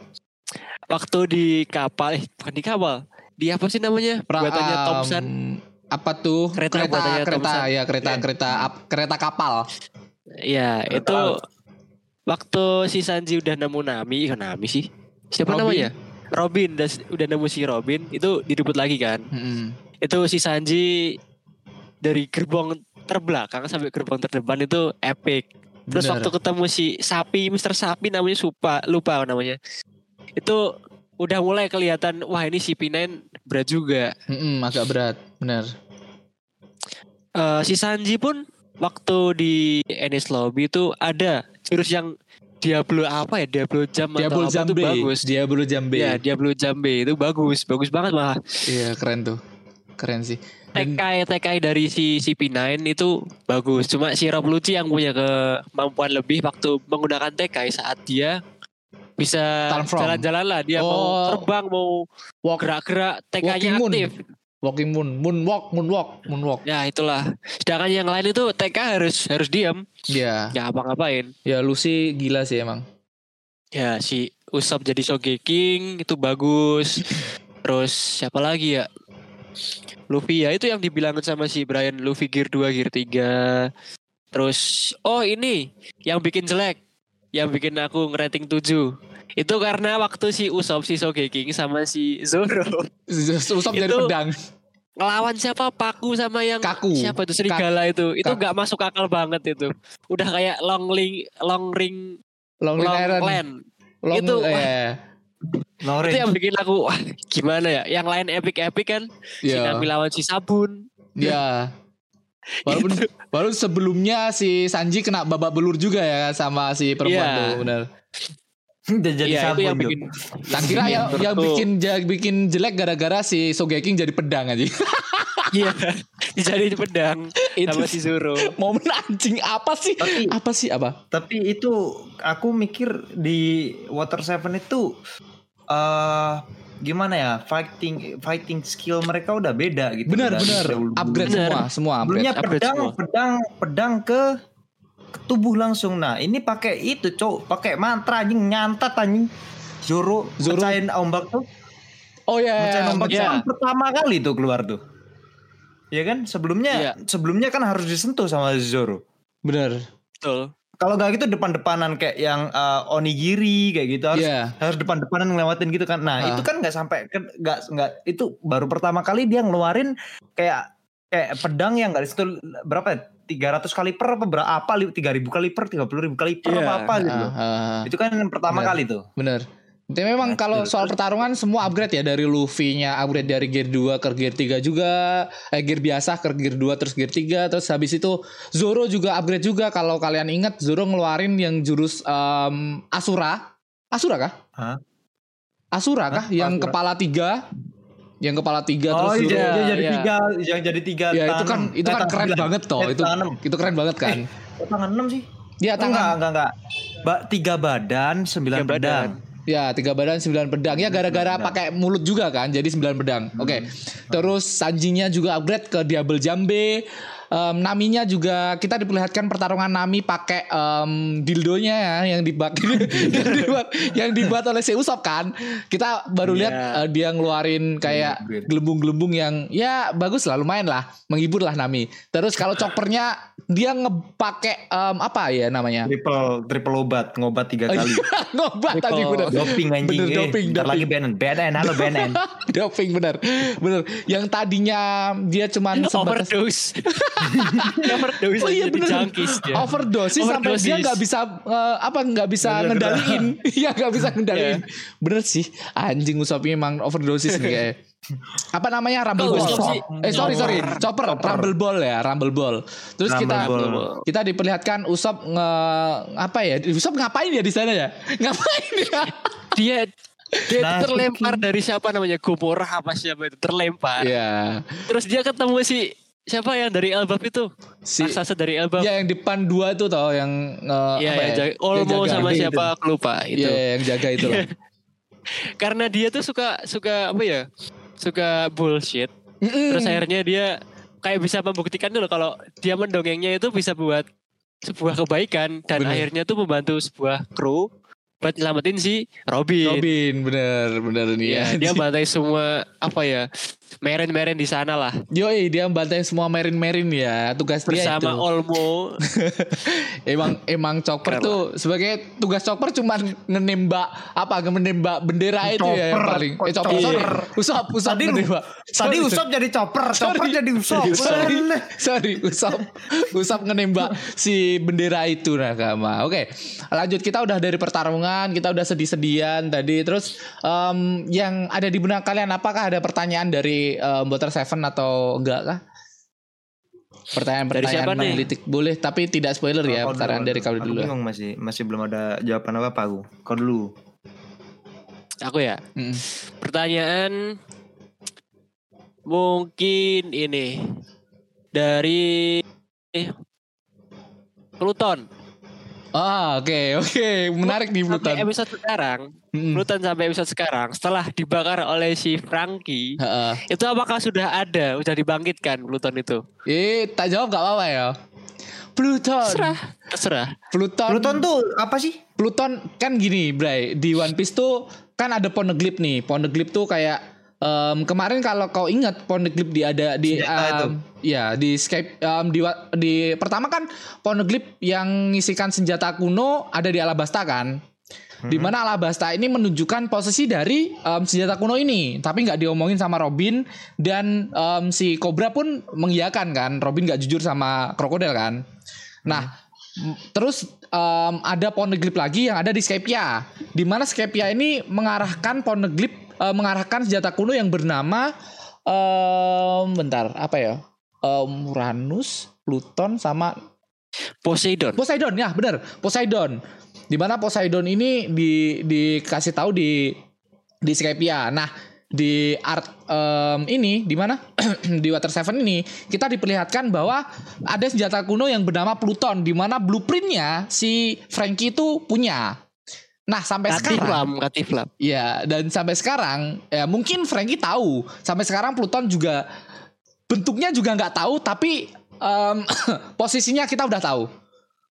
Speaker 4: Waktu di kapal, eh bukan di kapal, di apa sih namanya?
Speaker 2: Pra-
Speaker 4: Buatannya
Speaker 2: um,
Speaker 4: Thompson.
Speaker 2: apa tuh
Speaker 4: Kereta
Speaker 2: kereta
Speaker 4: buatannya
Speaker 2: kereta
Speaker 4: Thompson. Iya.
Speaker 2: ya kereta kereta ap- kereta kapal
Speaker 4: Ya itu waktu si Sanji udah nemu Nami, eh, Nami sih.
Speaker 2: Robin.
Speaker 4: Siapa namanya? Robin udah, udah nemu si Robin itu direbut lagi kan itu si Sanji dari gerbong terbelakang sampai gerbong terdepan itu epic terus
Speaker 2: Bener.
Speaker 4: waktu ketemu si sapi Mister Sapi namanya supa lupa namanya itu udah mulai kelihatan wah ini si P9 berat juga
Speaker 2: Mm-mm, agak berat, bener.
Speaker 4: Eh, si Sanji pun waktu di Ennis Lobby itu ada jurus yang Diablo apa ya Diablo jam
Speaker 2: Diablo
Speaker 4: atau apa
Speaker 2: Jambe,
Speaker 4: itu bagus
Speaker 2: Diablo Jambe.
Speaker 4: ya Diablo Jambe itu bagus bagus banget malah
Speaker 2: Iya, keren tuh. Keren sih. Dan-
Speaker 4: TKI TKI dari si si P9 itu bagus cuma si Rob Lucci yang punya kemampuan lebih waktu menggunakan TKI saat dia bisa
Speaker 2: Turn from.
Speaker 4: jalan-jalan lah dia mau
Speaker 2: Oh.
Speaker 4: terbang mau
Speaker 2: Walk-
Speaker 4: gerak-gerak
Speaker 2: Walking
Speaker 4: TKI-nya
Speaker 2: moon.
Speaker 4: aktif
Speaker 2: Walking moon, moonwalk, moonwalk, moonwalk.
Speaker 4: ya itulah sedangkan yang lain itu TK harus harus diam
Speaker 2: Iya.
Speaker 4: nggak apa-ngapain
Speaker 2: Ya Lucy gila sih emang.
Speaker 4: Ya si Usop jadi Sogeking itu bagus. Terus siapa lagi ya? Luffy ya itu yang dibilangin sama si Brian Luffy gear 2 gear 3. Terus oh ini yang bikin jelek. Yang bikin aku ngerating 7. Itu karena waktu si Usop si Sogeking sama si Zoro
Speaker 2: Usop dari
Speaker 4: Itu-
Speaker 2: pedang.
Speaker 4: ngelawan siapa Paku sama yang
Speaker 2: Kaku.
Speaker 4: siapa itu serigala itu. Itu
Speaker 2: Kaku.
Speaker 4: nggak masuk akal banget itu. Udah kayak long ring long ring
Speaker 2: Long
Speaker 4: long,
Speaker 2: Ring Iron.
Speaker 4: land.
Speaker 2: Long
Speaker 4: Itu,
Speaker 2: eh,
Speaker 3: Lawrence.
Speaker 4: itu yang bikin aku wah gimana ya yang lain epic epic kan si
Speaker 2: Iya.
Speaker 4: Nami lawan si sabun
Speaker 2: Iya. Walaupun
Speaker 4: Itu.
Speaker 2: baru sebelumnya si Sanji kena babak belur juga ya sama si perempuan
Speaker 4: Iya.
Speaker 2: tuh benar.
Speaker 3: Udah jadi
Speaker 4: Iya, itu
Speaker 3: sabun
Speaker 4: yang
Speaker 3: dong.
Speaker 4: bikin
Speaker 2: Tak kira
Speaker 4: Iya,
Speaker 2: ya yang, yang
Speaker 4: Betul.
Speaker 2: bikin ja- bikin jelek gara-gara si Sogeking jadi pedang aja.
Speaker 4: iya dijadiin pedang
Speaker 2: Itu
Speaker 4: sama si Zoro
Speaker 2: momen anjing apa sih?
Speaker 3: Tapi-
Speaker 2: Apa sih apa?
Speaker 3: Tapi itu aku mikir di Water Seven itu eh gimana ya fighting fighting skill mereka udah beda gitu.
Speaker 2: Benar
Speaker 3: dari
Speaker 2: benar
Speaker 3: dahulu.
Speaker 2: upgrade
Speaker 4: Bener.
Speaker 2: semua semua upgrade.
Speaker 3: Sebelumnya
Speaker 4: upgrade
Speaker 3: pedang
Speaker 4: semua.
Speaker 3: pedang pedang ke ke tubuh langsung. Nah, ini pakai itu, Cok. Pakai mantra anjing nyantat anjing. Zoro,
Speaker 2: Zoro.
Speaker 3: pecahin ombak tuh.
Speaker 2: Oh ya.
Speaker 3: Mecahin ombak
Speaker 4: iya.
Speaker 3: itu pertama kali tuh keluar tuh. Ya kan? Sebelumnya
Speaker 4: Iya.
Speaker 3: sebelumnya kan harus disentuh sama Zoro.
Speaker 2: Benar.
Speaker 4: betul
Speaker 3: Kalau nggak gitu depan-depanan kayak yang eh, onigiri kayak gitu harus
Speaker 2: Iya.
Speaker 3: harus depan-depanan ngelewatin gitu kan. Nah,
Speaker 2: Ah.
Speaker 3: itu kan nggak sampai ke- nggak nggak itu baru pertama kali dia ngeluarin kayak kayak pedang yang nggak disitu berapa ya? 300 kali per apa berapa apa li- 3000 kali per 30.000 kali per
Speaker 4: Iya.
Speaker 3: apa apa gitu.
Speaker 2: Ah, ah,
Speaker 3: Itu kan yang pertama
Speaker 2: Benar.
Speaker 3: kali tuh.
Speaker 2: Bener. Tapi memang
Speaker 3: Nah,
Speaker 2: kalau
Speaker 3: terus-
Speaker 2: soal pertarungan semua upgrade ya dari Luffy-nya upgrade dari gear 2 ke gear 3 juga, eh gear biasa ke gear 2 terus gear 3 terus habis itu Zoro juga upgrade juga kalau kalian ingat Zoro ngeluarin yang jurus em, Asura. Asura kah?
Speaker 3: Hah?
Speaker 2: Asura kah
Speaker 3: Hah?
Speaker 2: yang
Speaker 3: Asura.
Speaker 2: kepala tiga yang kepala tiga
Speaker 3: oh,
Speaker 2: terus
Speaker 3: iya,
Speaker 2: Zoro
Speaker 3: dia jadi
Speaker 2: iya.
Speaker 3: tiga, yang jadi tiga.
Speaker 2: Ya
Speaker 3: tangan
Speaker 2: itu kan
Speaker 3: enam.
Speaker 2: itu kan
Speaker 3: Eh, tangan
Speaker 2: keren
Speaker 3: sembilan.
Speaker 2: banget toh
Speaker 3: Eh,
Speaker 2: itu
Speaker 3: tangan enam.
Speaker 2: itu keren banget kan. Iya,
Speaker 3: Oh, tangan enam sih.
Speaker 2: Dia
Speaker 3: Itu
Speaker 2: tangan
Speaker 3: enggak enggak enggak. Ba, tiga badan, sembilan
Speaker 4: Tiga badan.
Speaker 3: pedang.
Speaker 2: Ya, tiga badan sembilan pedang. hmm, Ya gara-gara pakai mulut juga kan, jadi sembilan pedang. Oke. Terus Sanjinya juga upgrade ke Diablo Jambe. Em, Naminya juga kita diperlihatkan pertarungan Nami pakai em, dildonya ya yang dibuat yang dibuat yang dibuat oleh si Usop kan. Kita baru
Speaker 4: Iya.
Speaker 2: lihat eh, dia ngeluarin kayak
Speaker 3: Upgrade.
Speaker 2: gelembung-gelembung yang ya bagus lah, lumayan lah, menghibur lah Nami. Terus kalau choppernya dia ngepake em, apa ya namanya?
Speaker 3: Triple triple obat,
Speaker 2: Oh,
Speaker 3: ngobat tiga
Speaker 2: iya.
Speaker 3: kali. Oh,
Speaker 2: Ngobat tadi
Speaker 4: Triple-
Speaker 2: bener.
Speaker 3: doping anjing.
Speaker 2: Bener,
Speaker 3: eh.
Speaker 2: doping,
Speaker 3: Bentar
Speaker 2: doping.
Speaker 3: lagi BNN. BNN, halo eh. BNN.
Speaker 2: doping benar benar yang tadinya dia cuman Kan sebatas
Speaker 4: overdose overdose
Speaker 2: Oh iya
Speaker 4: jadi
Speaker 2: bener.
Speaker 4: junkies dia
Speaker 2: Overdosis, sampai dia
Speaker 4: Overdosis.
Speaker 2: nggak bisa eh, apa nggak bisa
Speaker 3: Bener,
Speaker 2: ngendaliin, iya nggak bisa ngendaliin. Bener sih, anjing Usop emang overdosis nih kayaknya. Apa namanya Rumble
Speaker 4: Kalau
Speaker 2: Ball?
Speaker 4: Usop sih,
Speaker 2: Eh sorry sorry, Chopper, Rumble Ball ya, Rumble Ball. Terus
Speaker 3: Rumble
Speaker 2: kita
Speaker 3: Ball.
Speaker 2: kita diperlihatkan Usop nge apa ya? Usop ngapain ya di sana ya? Ngapain ya?
Speaker 4: dia dia
Speaker 3: Nah,
Speaker 4: terlempar dari siapa namanya Gomorrah apa siapa itu terlempar
Speaker 2: Iya.
Speaker 4: terus dia ketemu si siapa yang dari Elbaf itu
Speaker 2: Si
Speaker 4: raksasa dari Elbaf
Speaker 2: ya yang depan dua tuh tau yang eh,
Speaker 4: Iya,
Speaker 2: apa
Speaker 4: yang
Speaker 2: ya?
Speaker 4: jaga-
Speaker 2: Yang
Speaker 4: Olmo
Speaker 2: jaga
Speaker 4: sama
Speaker 2: gede
Speaker 4: siapa
Speaker 2: itu.
Speaker 4: aku lupa itu.
Speaker 2: Iya, yang jaga itu loh.
Speaker 4: Karena dia tuh suka suka apa ya? Suka bullshit.
Speaker 2: Mm-mm.
Speaker 4: Terus akhirnya dia kayak bisa membuktikan dulu kalau dia mendongengnya itu bisa buat sebuah kebaikan dan
Speaker 2: Bener.
Speaker 4: akhirnya tuh membantu sebuah kru buat nyelamatin si Robin.
Speaker 2: Robin bener bener nih ya.
Speaker 4: Iya, dia bantai semua apa ya? meren-meren di sana lah
Speaker 2: Yoi, dia bantai semua merin-merin ya. Tugas dia itu.
Speaker 4: bersama Olmo.
Speaker 2: Emang emang Chopper
Speaker 4: Keren
Speaker 2: tuh sebagai tugas Chopper cuman menembak apa menembak bendera itu ya yang
Speaker 3: Chopper,
Speaker 2: paling.
Speaker 3: kok
Speaker 2: Eh Chopper sorry.
Speaker 3: Chopper.
Speaker 2: Usap, usap
Speaker 3: Tadi lu-
Speaker 2: menembak.
Speaker 3: Tadi
Speaker 2: Sorry.
Speaker 3: Usop jadi chopper, chopper jadi Usop.
Speaker 2: Sorry,
Speaker 3: Aneh.
Speaker 2: sorry, usap, usap ngenembak si bendera itu nakama. Oke, lanjut kita udah dari pertarungan, kita udah sedih-sedian tadi. Terus em, yang ada di benak kalian, apakah ada pertanyaan dari um, Seven atau enggak kah?
Speaker 4: Dari siapa
Speaker 2: Pertanyaan-pertanyaan
Speaker 4: nih?
Speaker 2: menggelitik boleh, tapi tidak spoiler ya.
Speaker 3: Kau dulu,
Speaker 2: Pertanyaan dari kau
Speaker 3: Aku
Speaker 2: dulu.
Speaker 3: bingung masih masih belum ada jawaban apa apa aku. Kau dulu.
Speaker 4: Aku ya.
Speaker 2: Mm.
Speaker 4: Pertanyaan mungkin ini dari eh, Pluton.
Speaker 2: Ah, oke, oke, menarik nih
Speaker 4: Sampai
Speaker 2: Pluton.
Speaker 4: episode sekarang,
Speaker 2: Mm-mm.
Speaker 4: Pluton sampai episode sekarang setelah dibakar oleh si Franky,
Speaker 2: Heeh.
Speaker 4: itu apakah sudah ada, sudah dibangkitkan Pluton itu?
Speaker 2: Eh, tak jawab gak apa-apa ya. Pluton.
Speaker 4: Terserah, terserah.
Speaker 2: Pluton.
Speaker 3: Pluton tuh apa sih?
Speaker 2: Pluton kan gini, Bray. Di One Piece tuh kan ada Poneglyph nih. Poneglyph tuh kayak em, kemarin kalau kau ingat Poneglyph di ada di
Speaker 3: Senjata itu.
Speaker 2: em, ya di Skype em, di wa- di pertama kan Poneglyph yang ngisikan senjata kuno ada di Alabasta kan.
Speaker 3: Hmm.
Speaker 2: Di mana Alabasta ini menunjukkan posisi dari em, senjata kuno ini, tapi nggak diomongin sama Robin dan em, si Cobra pun mengiyakan kan. Robin nggak jujur sama krokodil kan. Nah, m- terus em, ada Poneglyph lagi yang ada di Skypia. Di mana Skypia ini mengarahkan Poneglyph eh, mengarahkan senjata kuno yang bernama em, bentar, apa ya? Em, Uranus, Pluton sama
Speaker 4: Poseidon.
Speaker 2: Poseidon ya benar Poseidon dimana Poseidon ini di dikasih tahu di di Skypia nah di art em, ini di mana di Water Seven ini kita diperlihatkan bahwa ada senjata kuno yang bernama Pluton di mana blueprintnya si Frankie itu punya nah sampai sekarang
Speaker 4: Katiflam, Katiflam.
Speaker 2: Ya, dan sampai sekarang ya mungkin Frankie tahu. Sampai sekarang Pluton juga bentuknya juga nggak tahu, tapi em, posisinya kita udah tahu.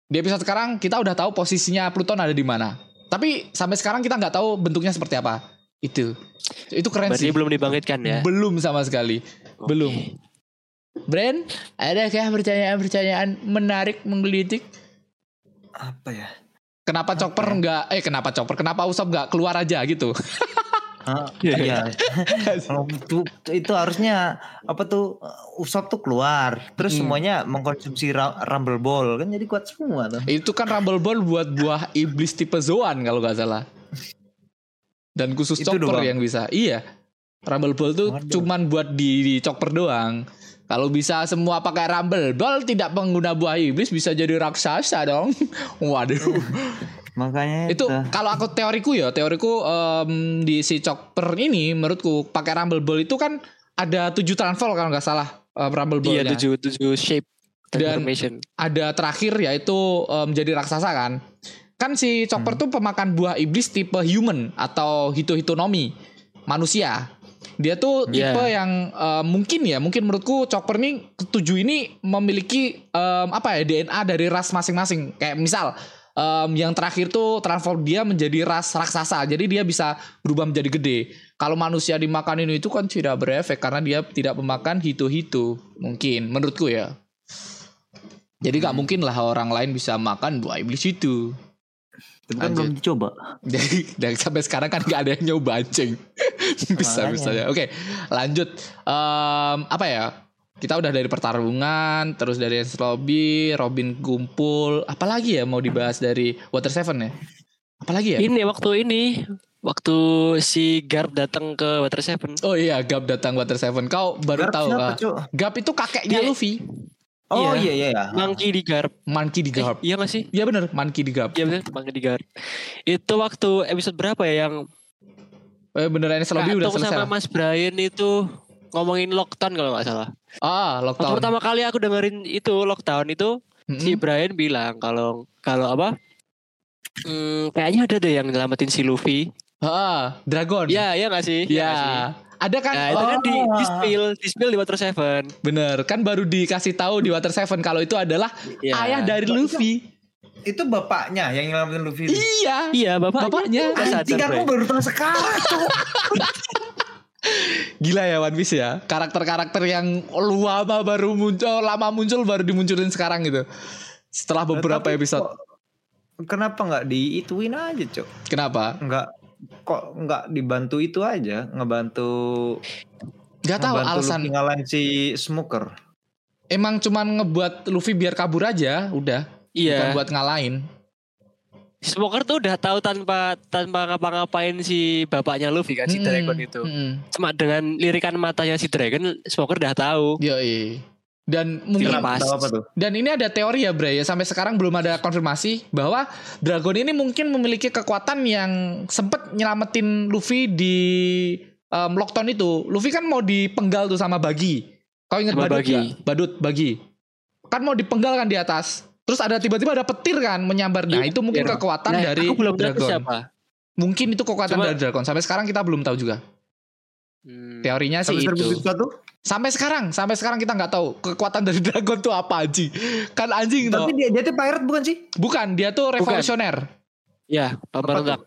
Speaker 2: Di episode sekarang kita udah tahu posisinya Pluton ada di mana. Tapi sampai sekarang kita nggak tahu bentuknya seperti apa. Itu. Itu keren
Speaker 4: Berarti
Speaker 2: sih.
Speaker 4: belum dibangkitkan ya.
Speaker 2: Belum sama sekali. Belum.
Speaker 4: Oke.
Speaker 2: Brand, adakah pertanyaan-pertanyaan menarik menggelitik?
Speaker 3: Apa ya?
Speaker 2: Kenapa Chopper
Speaker 4: ya?
Speaker 2: nggak eh kenapa Chopper? Kenapa Usop nggak keluar aja gitu?
Speaker 3: Hah? Iya. Kalau itu, itu harusnya apa tuh Usop tuh keluar. Terus semuanya mengkonsumsi ra- Rumble Ball kan jadi kuat semua tuh.
Speaker 2: Itu kan Rumble Ball buat buah iblis tipe Zoan kalau nggak salah. Dan khusus
Speaker 3: Itu
Speaker 2: chopper
Speaker 3: doang.
Speaker 2: yang bisa. Iya. Rumble Ball tuh
Speaker 3: Waduh.
Speaker 2: cuman buat di, di chopper doang. Kalau bisa semua pakai Rumble Ball tidak pengguna buah iblis bisa jadi raksasa dong. Waduh.
Speaker 3: Makanya
Speaker 2: itu kalau aku teoriku ya, teoriku em, di si chopper ini menurutku pakai Rumble Ball itu kan ada tujuh transfer kalau nggak salah. em, Rumble Ball
Speaker 4: Iya, tujuh tujuh shape transformation.
Speaker 2: ada terakhir yaitu eh, menjadi raksasa kan. Kan si Chopper tuh pemakan buah iblis tipe human atau hito-hitonomi manusia. Dia tuh tipe
Speaker 4: Iya.
Speaker 2: yang eh, mungkin ya, mungkin menurutku Chopper nih ketujuh ini memiliki em, apa ya DNA dari ras masing-masing. Kayak misal em, yang terakhir tuh transform dia menjadi ras raksasa. Jadi dia bisa berubah menjadi gede. Kalau manusia dimakan ini itu kan tidak berefek karena dia tidak memakan hito-hito. Mungkin menurutku ya. Jadi
Speaker 4: Hmm.
Speaker 2: nggak mungkin lah orang lain bisa makan buah iblis itu.
Speaker 3: Tapi kan belum dicoba.
Speaker 2: Jadi dari sampai sekarang kan nggak ada yang nyoba anjing. bisa
Speaker 3: Makanya.
Speaker 2: bisa ya. Oke, lanjut. Em, apa ya? Kita udah dari pertarungan, terus dari Hans Lobby, Robin kumpul. Apalagi ya mau dibahas dari Water Seven ya? Apalagi ya?
Speaker 4: Ini waktu ini waktu si Garp datang ke Water Seven.
Speaker 2: Oh iya, Gap datang Water Seven. Kau baru
Speaker 3: Garp
Speaker 2: tahu?
Speaker 3: siapa,
Speaker 2: ah.
Speaker 3: Cuk?
Speaker 2: Gap itu kakeknya
Speaker 4: Dia-
Speaker 2: Luffy.
Speaker 3: Oh
Speaker 4: Iya.
Speaker 3: iya iya iya.
Speaker 2: Ah.
Speaker 4: Monkey di Garp.
Speaker 2: Monkey di
Speaker 4: Eh,
Speaker 2: Gap.
Speaker 4: iya gak sih?
Speaker 2: Iya bener, Monkey di Gap.
Speaker 4: Iya bener, Monkey di Garp. Itu waktu episode berapa ya yang
Speaker 2: Eh bener Hans Lobby udah
Speaker 4: Kak Tung
Speaker 2: selesai. lah.
Speaker 4: sama Mas Brian itu ngomongin lockdown kalau nggak salah.
Speaker 2: Ah,
Speaker 4: Waktu
Speaker 2: lockdown.
Speaker 4: pertama kali aku dengerin itu lockdown itu
Speaker 2: Mm-mm.
Speaker 4: si Brian bilang kalau kalau apa? Hmm, kayaknya ada deh yang nyelamatin si Luffy.
Speaker 2: Ah, Dragon.
Speaker 4: Iya, iya gak sih? Iya
Speaker 2: Ya,
Speaker 4: nggak sih?
Speaker 2: ada kan?
Speaker 4: Nah, itu
Speaker 2: oh,
Speaker 4: kan di, di
Speaker 3: Oh.
Speaker 4: spill, di spill di Water Seven.
Speaker 2: bener kan baru dikasih tahu di Water Seven kalau itu adalah
Speaker 4: Iya.
Speaker 2: ayah dari Luffy.
Speaker 3: Itu bapaknya yang nyelamatin Luffy. itu.
Speaker 2: Iya.
Speaker 4: Iya, bapak.
Speaker 2: Bapaknya. kan
Speaker 4: Nggak sadar,
Speaker 3: Anjing aku
Speaker 4: Bray.
Speaker 3: baru tahu sekarang. Cuk.
Speaker 2: Gila ya One Piece ya. Karakter-karakter yang lama baru muncul, lama muncul baru dimunculin sekarang gitu. Setelah beberapa
Speaker 3: Nah, Tapi
Speaker 2: episode.
Speaker 3: kok- Kenapa nggak diituin aja, Cok?
Speaker 2: Kenapa?
Speaker 3: Nggak kok nggak dibantu itu aja, ngebantu
Speaker 2: Gak tahu
Speaker 3: ngebantu
Speaker 2: alasan.
Speaker 3: Luffy ngalahin si Smoker.
Speaker 2: Emang cuman ngebuat Luffy biar kabur aja, udah. Bukan
Speaker 4: Iya.
Speaker 2: buat ngalahin.
Speaker 4: Smoker tuh udah tahu tanpa tanpa ngapa-ngapain si bapaknya Luffy kan si
Speaker 2: Mm-mm.
Speaker 4: Dragon itu.
Speaker 2: Mm-mm.
Speaker 4: Cuma dengan lirikan matanya si Dragon, Smoker udah tahu.
Speaker 2: Yoi. Dan mungkin
Speaker 4: Dilepas.
Speaker 3: Tahu apa tuh?
Speaker 2: Dan ini ada teori ya Bray ya sampai sekarang belum ada konfirmasi bahwa Dragon ini mungkin memiliki kekuatan yang sempet nyelamatin Luffy di um, lockdown itu. Luffy kan mau dipenggal tuh sama Bagi. Kau ingat
Speaker 4: Sama
Speaker 2: Badut
Speaker 4: Buggy.
Speaker 2: nggak? Badut Bagi. Kan mau dipenggal kan di atas. Terus ada tiba-tiba ada petir kan menyambar. Nah,
Speaker 4: Iya,
Speaker 2: itu mungkin
Speaker 4: petir.
Speaker 2: kekuatan
Speaker 4: Nah,
Speaker 2: dari
Speaker 4: aku belum tahu itu
Speaker 2: Dragon.
Speaker 4: siapa.
Speaker 2: Mungkin itu kekuatan
Speaker 4: Cuma-
Speaker 2: dari Dragon. Sampai sekarang kita belum tahu juga.
Speaker 4: Hmm.
Speaker 2: Teorinya sih
Speaker 3: Habis
Speaker 2: itu.
Speaker 3: terbukti satu?
Speaker 2: Sampai sekarang, sampai sekarang kita nggak tahu kekuatan dari Dragon tuh apa anjing. Kan anjing tuh.
Speaker 3: Tapi dia dia tuh pirate bukan sih?
Speaker 2: Bukan, dia tuh revolusioner.
Speaker 4: Ya, pemberontak.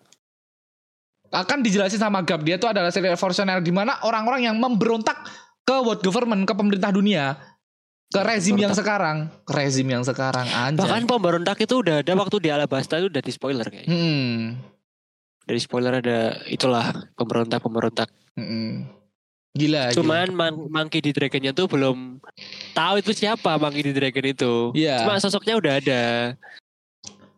Speaker 2: Akan dijelasin sama Gap, dia tuh adalah seri revolusioner di mana orang-orang yang memberontak ke world government, ke pemerintah dunia, ke rezim yang sekarang, ke rezim yang sekarang anjay.
Speaker 4: Bahkan pemberontak itu udah ada waktu di Alabasta itu udah di spoiler kayaknya.
Speaker 2: Hmm,
Speaker 4: Dari spoiler ada itulah pemberontak pemberontak.
Speaker 2: hmm. Gila.
Speaker 4: Cuman man- Monkey di Dragonnya tuh belum tahu itu siapa Monkey di Dragon itu.
Speaker 2: gila. Iya.
Speaker 4: Cuma sosoknya udah ada.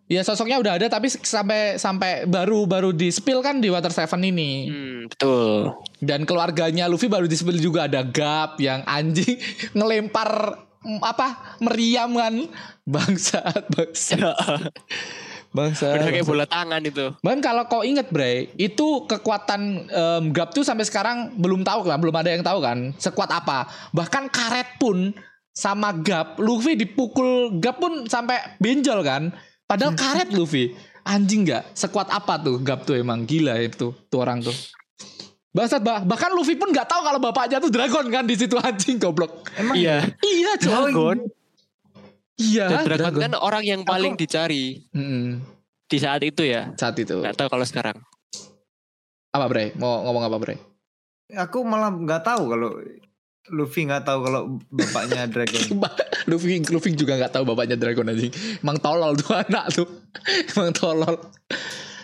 Speaker 2: Ya sosoknya udah ada tapi sampai sampai baru baru di spill kan di Water Seven ini.
Speaker 4: Hmm, betul.
Speaker 2: Dan keluarganya Luffy baru di spill juga ada Gap yang anjing ngelempar mm, apa meriam kan bangsat bangsat bangsat.
Speaker 4: udah
Speaker 2: bangsat.
Speaker 4: kayak bola tangan itu.
Speaker 2: Bahkan kalau kau inget Bray, itu kekuatan em, Gap tuh sampai sekarang belum tahu kan, belum ada yang tahu kan, sekuat apa. Bahkan karet pun sama Gap, Luffy dipukul Gap pun sampai benjol kan. Padahal karet Luffy. Anjing nggak, sekuat apa tuh Gap tuh emang gila itu tuh orang tuh. Bangsat bah, bahkan Luffy pun nggak tahu kalau bapaknya tuh dragon kan di situ anjing goblok.
Speaker 3: Emang
Speaker 4: Iya.
Speaker 2: Iya, coy.
Speaker 4: Dragon.
Speaker 2: Iya,
Speaker 4: Dan Dragon
Speaker 2: dragon.
Speaker 4: kan orang yang paling dicari
Speaker 2: Mm-mm,
Speaker 4: di saat itu ya.
Speaker 2: saat itu.
Speaker 4: Gak tahu kalau sekarang.
Speaker 2: Apa Bray? Mau ngomong apa Bray?
Speaker 3: aku malah nggak tahu kalau Luffy nggak tahu kalau bapaknya Dragon.
Speaker 2: Ba- Luffy, Luffy juga nggak tahu bapaknya Dragon anjing. Emang tolol tuh anak tuh. Emang tolol.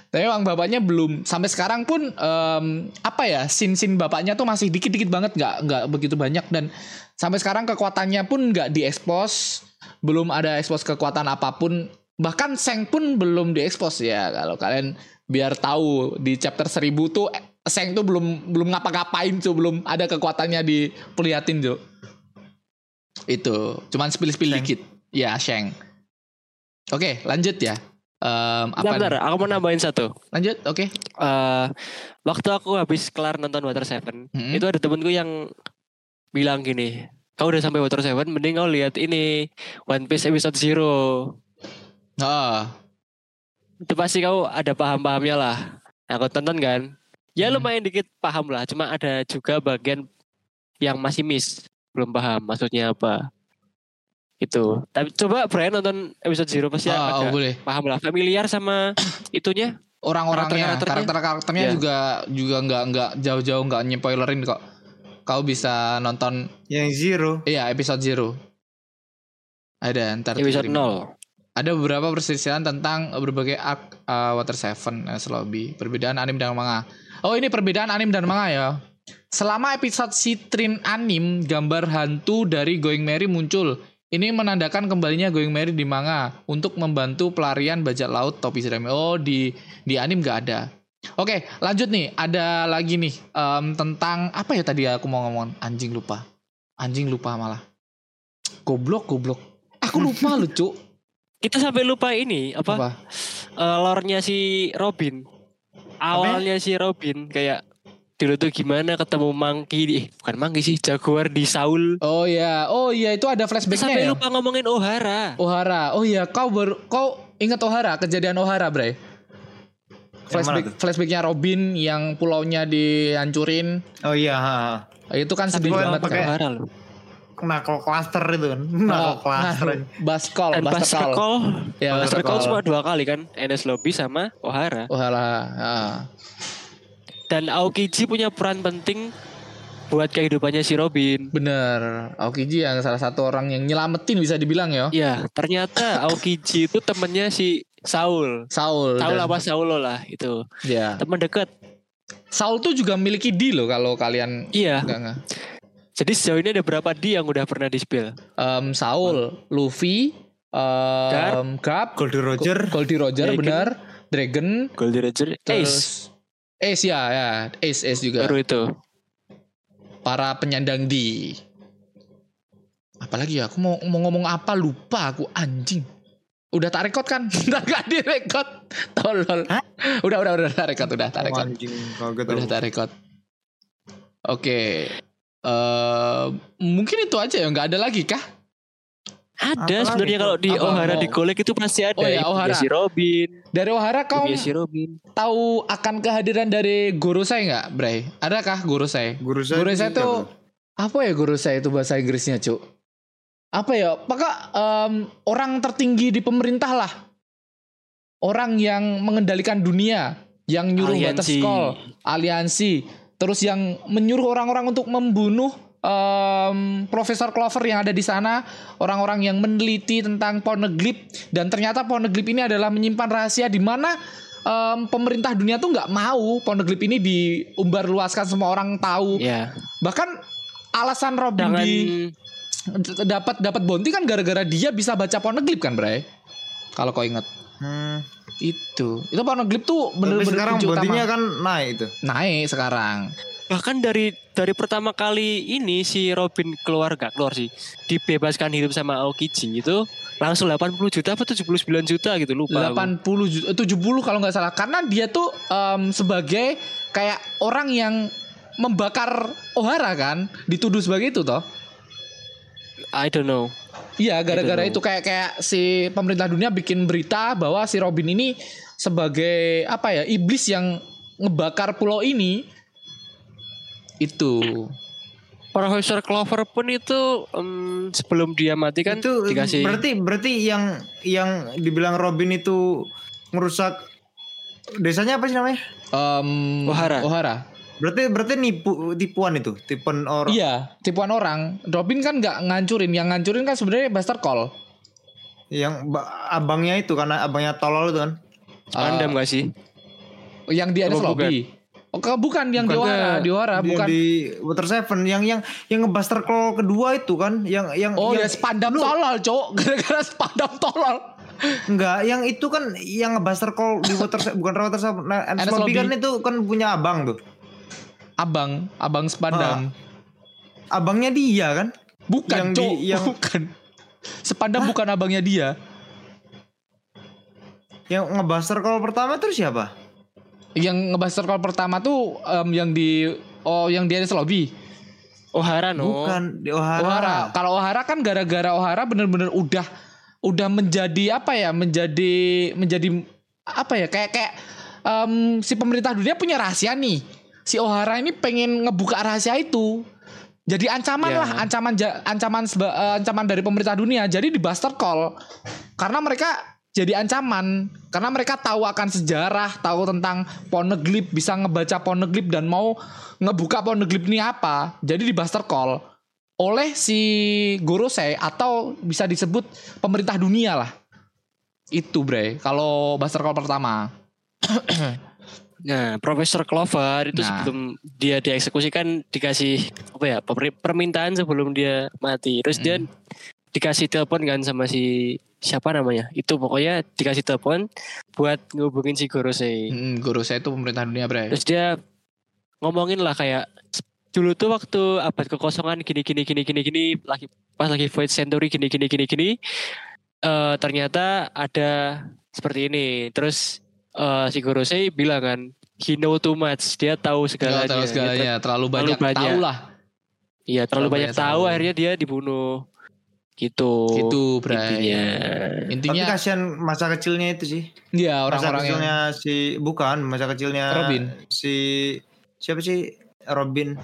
Speaker 2: Tapi emang bapaknya belum sampai sekarang pun em, apa ya sin-sin bapaknya tuh masih dikit-dikit banget nggak nggak begitu banyak dan sampai sekarang kekuatannya pun nggak diekspos belum ada ekspos kekuatan apapun bahkan Seng pun belum diekspos ya kalau kalian biar tahu di chapter 1000 tuh eh, Seng tuh belum belum ngapa-ngapain tuh belum ada kekuatannya diperlihatin tuh itu cuman spill-spill
Speaker 3: Shank.
Speaker 2: dikit ya Seng oke lanjut ya Em, apa
Speaker 4: Bentar, bentar,
Speaker 2: nih?
Speaker 4: aku mau nambahin satu.
Speaker 2: lanjut oke
Speaker 4: Eh, waktu aku habis kelar nonton Water Seven,
Speaker 2: Mm-mm.
Speaker 4: itu ada temenku yang bilang gini, kau udah sampai Water Seven, mending kau lihat ini One Piece episode Zero.
Speaker 2: Ah,
Speaker 4: Itu pasti kau ada paham-pahamnya lah. Nah, Aku tonton kan, ya
Speaker 2: Hmm.
Speaker 4: lumayan dikit paham lah, cuma ada juga bagian yang masih miss, belum paham maksudnya apa. Itu. Tapi coba Brian nonton episode Zero pasti
Speaker 2: ah, oh,
Speaker 4: agak
Speaker 2: boleh
Speaker 4: paham lah, familiar sama itunya.
Speaker 2: orang-orangnya
Speaker 4: Karakter-karakternya.
Speaker 2: karakter-karakternya
Speaker 4: Iya.
Speaker 2: juga juga nggak nggak jauh-jauh nggak nyepoilerin kok kau bisa nonton
Speaker 3: Yang Zero.
Speaker 2: iya episode zero ada ntar
Speaker 4: Episode
Speaker 2: kirim.
Speaker 4: nol.
Speaker 2: ada beberapa perselisihan tentang berbagai arc uh, Water Seven as Lobby perbedaan anime dan manga oh ini perbedaan anime dan manga ya selama episode Citrin anime gambar hantu dari Going Merry muncul ini menandakan kembalinya Going Merry di manga untuk membantu pelarian bajak laut topi jerami oh di di anime nggak ada oke lanjut nih ada lagi nih em, tentang apa ya tadi aku mau ngomong anjing lupa anjing lupa malah goblok goblok aku lupa lu cuk
Speaker 4: Kita sampai lupa ini apa?
Speaker 2: apa?
Speaker 4: eh, lore-nya si Robin. Awalnya si Robin kayak dulu tuh gimana ketemu Mangki di eh, bukan Mangki sih Jaguar di Saul.
Speaker 2: Oh ya, oh ya itu ada
Speaker 4: Terus Sampai
Speaker 2: flashbacknya ya.
Speaker 4: lupa ngomongin O'Hara.
Speaker 2: Ohara, oh ya kau baru kau ingat Ohara kejadian Ohara Bray.
Speaker 3: mana
Speaker 2: Flashback flashbacknya Robin yang pulaunya dihancurin
Speaker 3: Oh iya. ha, ha.
Speaker 2: itu kan sedih banget
Speaker 4: Sampai lupa
Speaker 3: Tapi
Speaker 4: ngomongin
Speaker 2: kan.
Speaker 3: pakai-
Speaker 4: O'Hara loh.
Speaker 3: Knuckle cluster itu kan. Knuckle
Speaker 2: Nah,
Speaker 3: cluster.
Speaker 2: nah, baskol,
Speaker 4: Dan pas
Speaker 2: baskol.
Speaker 4: recall,
Speaker 2: Ya,
Speaker 3: Buster
Speaker 2: baskol.
Speaker 4: recall cuma dua kali kan, NS Lobby sama O'Hara.
Speaker 2: Ohara. ah.
Speaker 4: Dan Aokiji punya peran penting buat kehidupannya si Robin.
Speaker 2: Bener, Aokiji yang salah satu orang yang nyelamatin bisa dibilang ya.
Speaker 4: Ya, ternyata Aokiji itu temennya si Saul.
Speaker 2: Saul.
Speaker 4: Saul
Speaker 2: dan-
Speaker 4: apa Saulo lah itu.
Speaker 2: Ya.
Speaker 4: Teman dekat.
Speaker 2: Saul tuh juga memiliki D loh kalau kalian
Speaker 4: Iya.
Speaker 2: enggak enggak.
Speaker 4: Jadi sejauh ini ada berapa D yang udah pernah dispel?
Speaker 2: Em, Saul, Luffy, um, Gap,
Speaker 3: Gold Roger.
Speaker 2: Goldie Roger
Speaker 4: Dragon.
Speaker 2: bener, Dragon,
Speaker 4: Gold Ranger Ace.
Speaker 2: terus Ace. ya ya, Ace Ace juga.
Speaker 4: Baru itu.
Speaker 2: Para penyandang di Apalagi ya, aku mau, mau ngomong apa lupa aku anjing. Udah tak record kan? Udah gak di record. Tolol.
Speaker 3: Hah?
Speaker 2: Udah udah udah tak record, udah tak record.
Speaker 3: Anjing, gitu. kaget
Speaker 2: Udah
Speaker 3: aku.
Speaker 2: tak record. Oke. Eh, mungkin itu aja ya, nggak ada lagi kah?
Speaker 4: Ada
Speaker 3: Apalagi
Speaker 4: sebenarnya
Speaker 3: tuh?
Speaker 4: kalau di
Speaker 2: Apa
Speaker 4: Ohara
Speaker 2: mau?
Speaker 4: di kolek itu pasti ada.
Speaker 2: Oh iya,
Speaker 4: Ibunya
Speaker 2: Ohara.
Speaker 4: Si Robin,
Speaker 2: Dari Ohara kau
Speaker 4: ibunya si Robin.
Speaker 2: tahu akan kehadiran dari guru saya nggak, Bray? Adakah guru saya?
Speaker 3: Guru saya, kan?
Speaker 2: Guru saya
Speaker 3: ini
Speaker 2: tuh
Speaker 3: apa?
Speaker 2: apa ya guru saya itu bahasa Inggrisnya, Cuk? Apa ya? Maka orang tertinggi di pemerintah lah. Orang yang mengendalikan dunia, yang nyuruh batas
Speaker 4: Aliansi.
Speaker 2: call, aliansi, terus yang menyuruh orang-orang untuk membunuh em, Profesor Clover yang ada di sana, orang-orang yang meneliti tentang Poneglyph dan ternyata Poneglyph ini adalah menyimpan rahasia di mana em, pemerintah dunia tuh nggak mau Poneglyph ini diumbar luaskan semua orang tahu
Speaker 4: Ya.
Speaker 2: bahkan alasan Robin
Speaker 4: Jangan
Speaker 2: di dapat dapat bonti kan gara-gara dia bisa baca Poneglyph kan Bray kalau kau inget
Speaker 3: Hmm.
Speaker 2: itu itu Poneglyph tuh
Speaker 3: Tapi
Speaker 2: bener-bener
Speaker 3: sekarang
Speaker 2: kunci utama.
Speaker 3: bontinya kan naik itu.
Speaker 2: naik sekarang
Speaker 4: bahkan dari dari pertama kali ini si Robin keluar gak keluar sih dibebaskan hidup sama Aokiji itu langsung 80 juta apa 79 juta gitu lupa aku.
Speaker 2: 80 juta, eh, 70 kalau nggak salah karena dia tuh em, sebagai kayak orang yang membakar Ohara kan dituduh sebagai itu toh
Speaker 4: I don't know
Speaker 2: Iya gara-gara itu
Speaker 4: Itu
Speaker 2: kayak kayak si pemerintah dunia bikin berita bahwa si Robin ini sebagai apa ya iblis yang ngebakar pulau ini itu
Speaker 4: Profesor Clover pun itu em, sebelum dia mati kan
Speaker 3: itu
Speaker 4: dikasih
Speaker 3: berarti berarti yang yang dibilang Robin itu merusak desanya apa sih namanya?
Speaker 2: em,
Speaker 4: Ohara.
Speaker 3: Berarti berarti nipu tipuan itu, tipuan orang.
Speaker 2: Iya tipuan orang. Robin kan nggak ngancurin, yang ngancurin kan sebenarnya Buster Call.
Speaker 3: yang ba- abangnya itu karena abangnya tolol itu kan.
Speaker 4: pandam gak sih
Speaker 2: Yang di
Speaker 4: Apa
Speaker 2: atas lobby. Oh, ke- bukan yang di
Speaker 3: Bukan,
Speaker 2: Ohara,
Speaker 4: enggak.
Speaker 2: di Ohara Ah,
Speaker 3: Yang
Speaker 2: bukan.
Speaker 3: di Water Seven yang yang yang ngebuster call kedua itu kan, yang yang
Speaker 2: oh
Speaker 3: yang,
Speaker 2: ya spandam tolol, cowok. Gara-gara spandam tolol.
Speaker 3: enggak, yang itu kan yang ngebuster call di Water Seven bukan Water Seven. Nah,
Speaker 2: Ernest
Speaker 3: Ernest Lobby
Speaker 2: Lobby.
Speaker 3: kan itu kan punya abang tuh.
Speaker 2: Abang, abang
Speaker 3: Ah.
Speaker 2: spandam.
Speaker 3: Abangnya dia kan. Yang
Speaker 2: Bukan,
Speaker 3: di-
Speaker 2: Cok.
Speaker 3: yang-
Speaker 2: Bukan. Sepandam bukan abangnya dia.
Speaker 3: Yang ngebuster call pertama terus siapa?
Speaker 2: Yang ngebahas call pertama tuh em, yang di oh yang di Anis Lobby.
Speaker 4: Ohara no
Speaker 3: Bukan di Ohara.
Speaker 2: Ohara. Kalau Ohara kan gara-gara Ohara bener-bener udah udah menjadi apa ya? Menjadi menjadi apa ya? Kayak kayak em, si pemerintah dunia punya rahasia nih. Si Ohara ini pengen ngebuka rahasia itu. Jadi ancaman
Speaker 4: Ya.
Speaker 2: lah, ancaman ja- ancaman seba- eh, ancaman dari pemerintah dunia. Jadi di Buster Call karena mereka jadi ancaman karena mereka tahu akan sejarah, tahu tentang Poneglyph, bisa ngebaca Poneglyph dan mau ngebuka Poneglyph ini apa. Jadi di Buster Call oleh si Gorosei atau bisa disebut pemerintah dunia lah. Itu Bre, kalau Buster Call pertama.
Speaker 4: nah Profesor Clover itu
Speaker 2: Nah.
Speaker 4: sebelum dia dieksekusikan dikasih apa ya pemer- permintaan sebelum dia mati terus dia dikasih telepon kan sama si siapa namanya itu pokoknya dikasih telepon buat ngubungin si Gorosei
Speaker 2: Mm, Gorosei itu pemerintah dunia Bre.
Speaker 4: Terus dia ngomongin lah kayak dulu tuh waktu abad kekosongan gini gini gini gini gini lagi pas lagi void century gini gini gini gini eh ternyata ada seperti ini terus eh si Gorosei bilang kan he know too much dia
Speaker 2: Kalau
Speaker 4: tahu segalanya,
Speaker 2: terlalu
Speaker 4: Dia
Speaker 2: segalanya, iya, terlalu
Speaker 4: terlalu
Speaker 2: banyak,
Speaker 4: banyak.
Speaker 2: tahu lah.
Speaker 4: ter- iya terlalu banyak tahu
Speaker 2: tahu.
Speaker 4: akhirnya dia dibunuh gitu
Speaker 2: Gitu Bre.
Speaker 4: intinya
Speaker 3: Tapi kan
Speaker 2: Intinya
Speaker 3: kasihan masa kecilnya itu sih.
Speaker 2: ya orang-orang
Speaker 3: masa
Speaker 2: yang
Speaker 3: kecilnya si bukan masa kecilnya
Speaker 2: Robin.
Speaker 3: si siapa sih Robin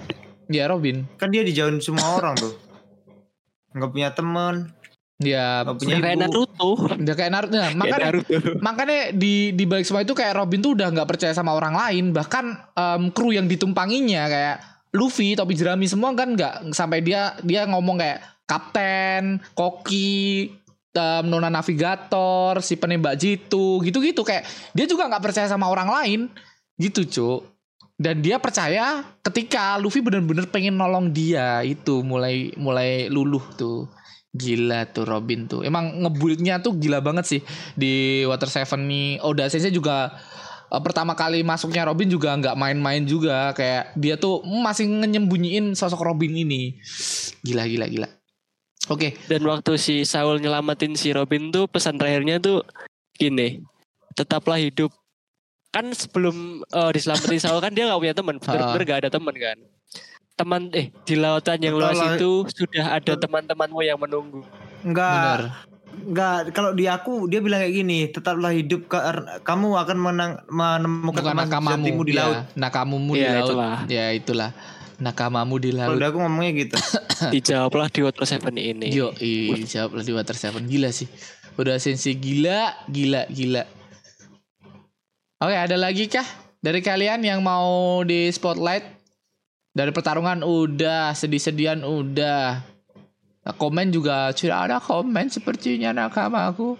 Speaker 2: ya Robin.
Speaker 3: kan dia dijauhin semua orang tuh nggak punya temen
Speaker 2: Dia
Speaker 3: nggak punya
Speaker 4: kayak
Speaker 3: ibu.
Speaker 4: Naruto
Speaker 2: Iya. Udah kayak Naruto. Nah,
Speaker 4: kayak
Speaker 2: makanya
Speaker 4: Naruto
Speaker 2: makanya di di balik semua itu kayak Robin tuh udah nggak percaya sama orang lain, bahkan em, kru yang ditumpanginya kayak Luffy topi jerami semua kan nggak sampai dia dia ngomong kayak kapten, koki, em, nona navigator, si penembak jitu, gitu-gitu kayak dia juga nggak percaya sama orang lain gitu, Cuk. Dan dia percaya ketika Luffy bener-bener pengen nolong dia itu mulai mulai luluh tuh. Gila tuh Robin tuh. Emang ngebuildnya tuh gila banget sih di Water Seven nih. Oda Sensei juga eh, pertama kali masuknya Robin juga nggak main-main juga kayak dia tuh masih nyembunyiin sosok Robin ini. Gila gila gila. Oke,
Speaker 4: Dan waktu si Saul nyelamatin si Robin tuh pesan terakhirnya tuh gini, tetaplah hidup. Kan sebelum eh, diselamatin Saul kan dia nggak punya teman, bener-bener nggak ada teman kan. Teman eh di lautan yang luas
Speaker 3: Betul lah.
Speaker 4: itu sudah ada teman-temanmu yang menunggu.
Speaker 3: Enggak,
Speaker 2: bener.
Speaker 3: enggak. Kalau di aku dia bilang kayak gini, tetaplah hidup karena kamu akan menang
Speaker 2: Bukan
Speaker 3: menemukan teman sejatimu
Speaker 2: nakamamu
Speaker 3: di laut.
Speaker 2: Ya, nakamamu di
Speaker 4: Iya,
Speaker 2: laut.
Speaker 4: itulah.
Speaker 2: Ya itulah. Nakamamu di
Speaker 3: Kalau
Speaker 2: laut.
Speaker 3: di aku ngomongnya gitu.
Speaker 4: Dijawablah di Water Seven ini.
Speaker 2: Yo, ih, jawab di Water Seven gila sih. Udah sensi gila, gila, gila. Oke, ada lagi kah dari kalian yang mau di spotlight? Dari pertarungan udah, sedih-sedian udah. Nah, komen juga sudah ada komen sepertinya nakamaku.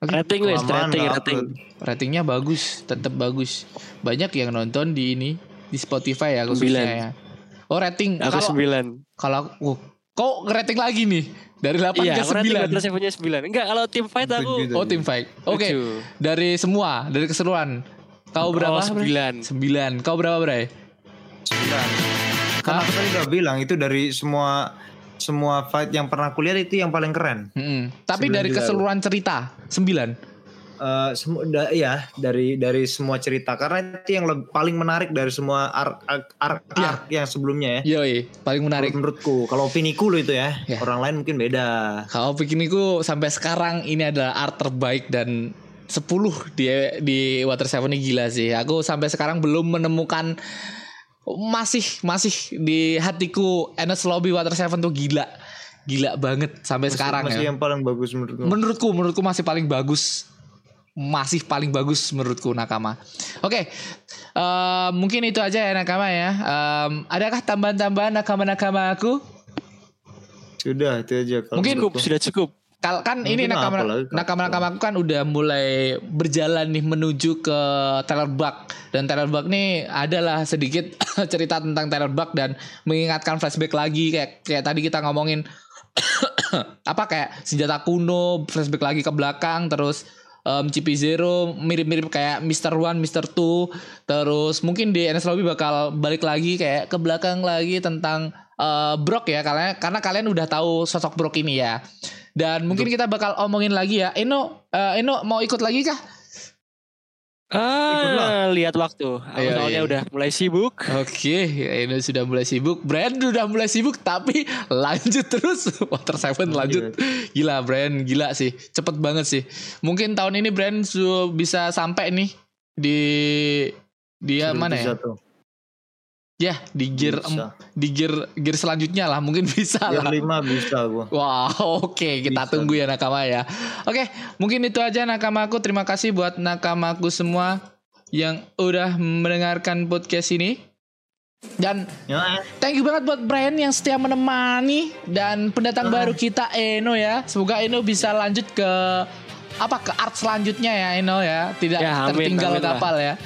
Speaker 4: Rating wes,
Speaker 3: Kelamaan
Speaker 4: rating,
Speaker 3: nggak
Speaker 4: rating.
Speaker 3: upload.
Speaker 2: ratingnya bagus, tetap bagus. Banyak yang nonton di ini di Spotify ya khususnya
Speaker 4: Sembilan.
Speaker 2: ya. Oh rating
Speaker 4: Aku
Speaker 2: kalau
Speaker 4: sembilan.
Speaker 2: kalau oh, kok rating lagi nih dari 8
Speaker 4: Iya,
Speaker 2: ke
Speaker 4: aku rating
Speaker 2: 9.
Speaker 4: Water Seven-nya sembilan. Enggak, kalau tim fight aku
Speaker 3: Tujuh.
Speaker 2: Oh tim fight. Oke,
Speaker 4: tujuh.
Speaker 2: dari semua, dari keseluruhan. Kau
Speaker 4: Oh,
Speaker 2: berapa?
Speaker 4: sembilan.
Speaker 2: 9. Kau berapa, Bray?
Speaker 3: Sembilan. Karena Kan aku tadi udah bilang itu dari semua semua fight yang pernah kuliah itu yang paling keren.
Speaker 2: Mm-mm. Tapi
Speaker 3: Sembilan
Speaker 2: dari
Speaker 3: juga.
Speaker 2: keseluruhan cerita 9.
Speaker 3: Eh semua da- ya dari dari semua cerita karena itu yang lebih- paling menarik dari semua arc arc, arc,
Speaker 2: Iya.
Speaker 3: arc yang sebelumnya ya.
Speaker 2: Yoi, paling menarik.
Speaker 3: Menurutku kalau opiniku lo itu ya,
Speaker 2: Iya.
Speaker 3: orang lain mungkin beda.
Speaker 2: Kalau pikirku sampai sekarang ini adalah art terbaik dan 10 di di Water Seven ini gila sih. Aku sampai sekarang belum menemukan masih masih di hatiku Enes Lobby Water Seven tuh gila. Gila banget sampai sekarang
Speaker 3: masih
Speaker 2: ya.
Speaker 3: yang paling bagus menurutku.
Speaker 2: Menurutku menurutku masih paling bagus. Masih paling bagus menurutku Nakama. Oke. eh, mungkin itu aja ya Nakama ya. Em, adakah tambahan-tambahan Nakama-nakama aku?
Speaker 3: Sudah itu aja kalau
Speaker 2: Mungkin
Speaker 4: cukup,
Speaker 3: menurutku.
Speaker 4: sudah cukup.
Speaker 2: Kal kan ini
Speaker 3: Mungkin
Speaker 2: nakama
Speaker 3: Nah, apalagi kalau-
Speaker 2: nakama nakama aku kan udah mulai berjalan nih menuju ke Taylor Buck dan Taylor Buck nih adalah sedikit cerita tentang Taylor Buck dan mengingatkan flashback lagi kayak kayak tadi kita ngomongin apa kayak senjata kuno flashback lagi ke belakang terus um, Zero mirip-mirip kayak Mr. One, Mr. Two terus mungkin di NS Lobby bakal balik lagi kayak ke belakang lagi tentang eh, Brock ya karena karena kalian udah tahu sosok Brock ini ya dan mungkin kita bakal omongin lagi ya Eno eh, Eno mau ikut lagi kah?
Speaker 4: Ah, lihat waktu. Aku
Speaker 2: Iya,
Speaker 4: soalnya
Speaker 2: iya.
Speaker 4: udah mulai sibuk.
Speaker 2: Oke, Eno sudah mulai sibuk, Brian udah mulai sibuk, tapi lanjut terus. Water Seven lanjut, gila Brian, gila sih, cepet banget sih. Mungkin tahun ini Brian su- bisa sampai nih di dia mana ya?
Speaker 3: Iya, Satu.
Speaker 2: Ya di gear em-
Speaker 3: Bisa.
Speaker 2: di gear gear selanjutnya lah, mungkin bisa
Speaker 3: Yang
Speaker 2: lah.
Speaker 3: lima bisa gua.
Speaker 2: Wah, oke, kita
Speaker 3: Bisa.
Speaker 2: tunggu ya nakama ya. Oke, mungkin itu aja nakamaku. Terima kasih buat nakamaku semua yang udah mendengarkan podcast ini. Dan
Speaker 3: Ya,
Speaker 2: Thank you banget buat Brian yang setia menemani dan pendatang
Speaker 4: Ah.
Speaker 2: baru kita Eno ya. Semoga Eno bisa lanjut ke apa ke art selanjutnya ya Eno ya, tidak
Speaker 4: Ya, amin,
Speaker 2: tertinggal
Speaker 4: amin lah.
Speaker 2: kapal ya.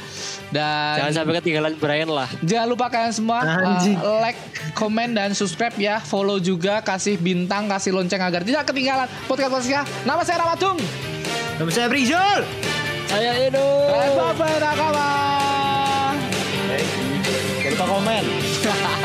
Speaker 2: Dan
Speaker 4: Jangan sampai ketinggalan Brian lah.
Speaker 2: Jangan lupa kalian semua uh,
Speaker 3: Anjing.
Speaker 2: like, komen dan subscribe ya. Follow juga, kasih bintang, kasih lonceng agar tidak ketinggalan podcast podcastnya. Nama saya Ramatung.
Speaker 3: Nama saya Brizul.
Speaker 4: Saya Edo.
Speaker 2: Bye bye nakama.
Speaker 3: Jangan lupa komen.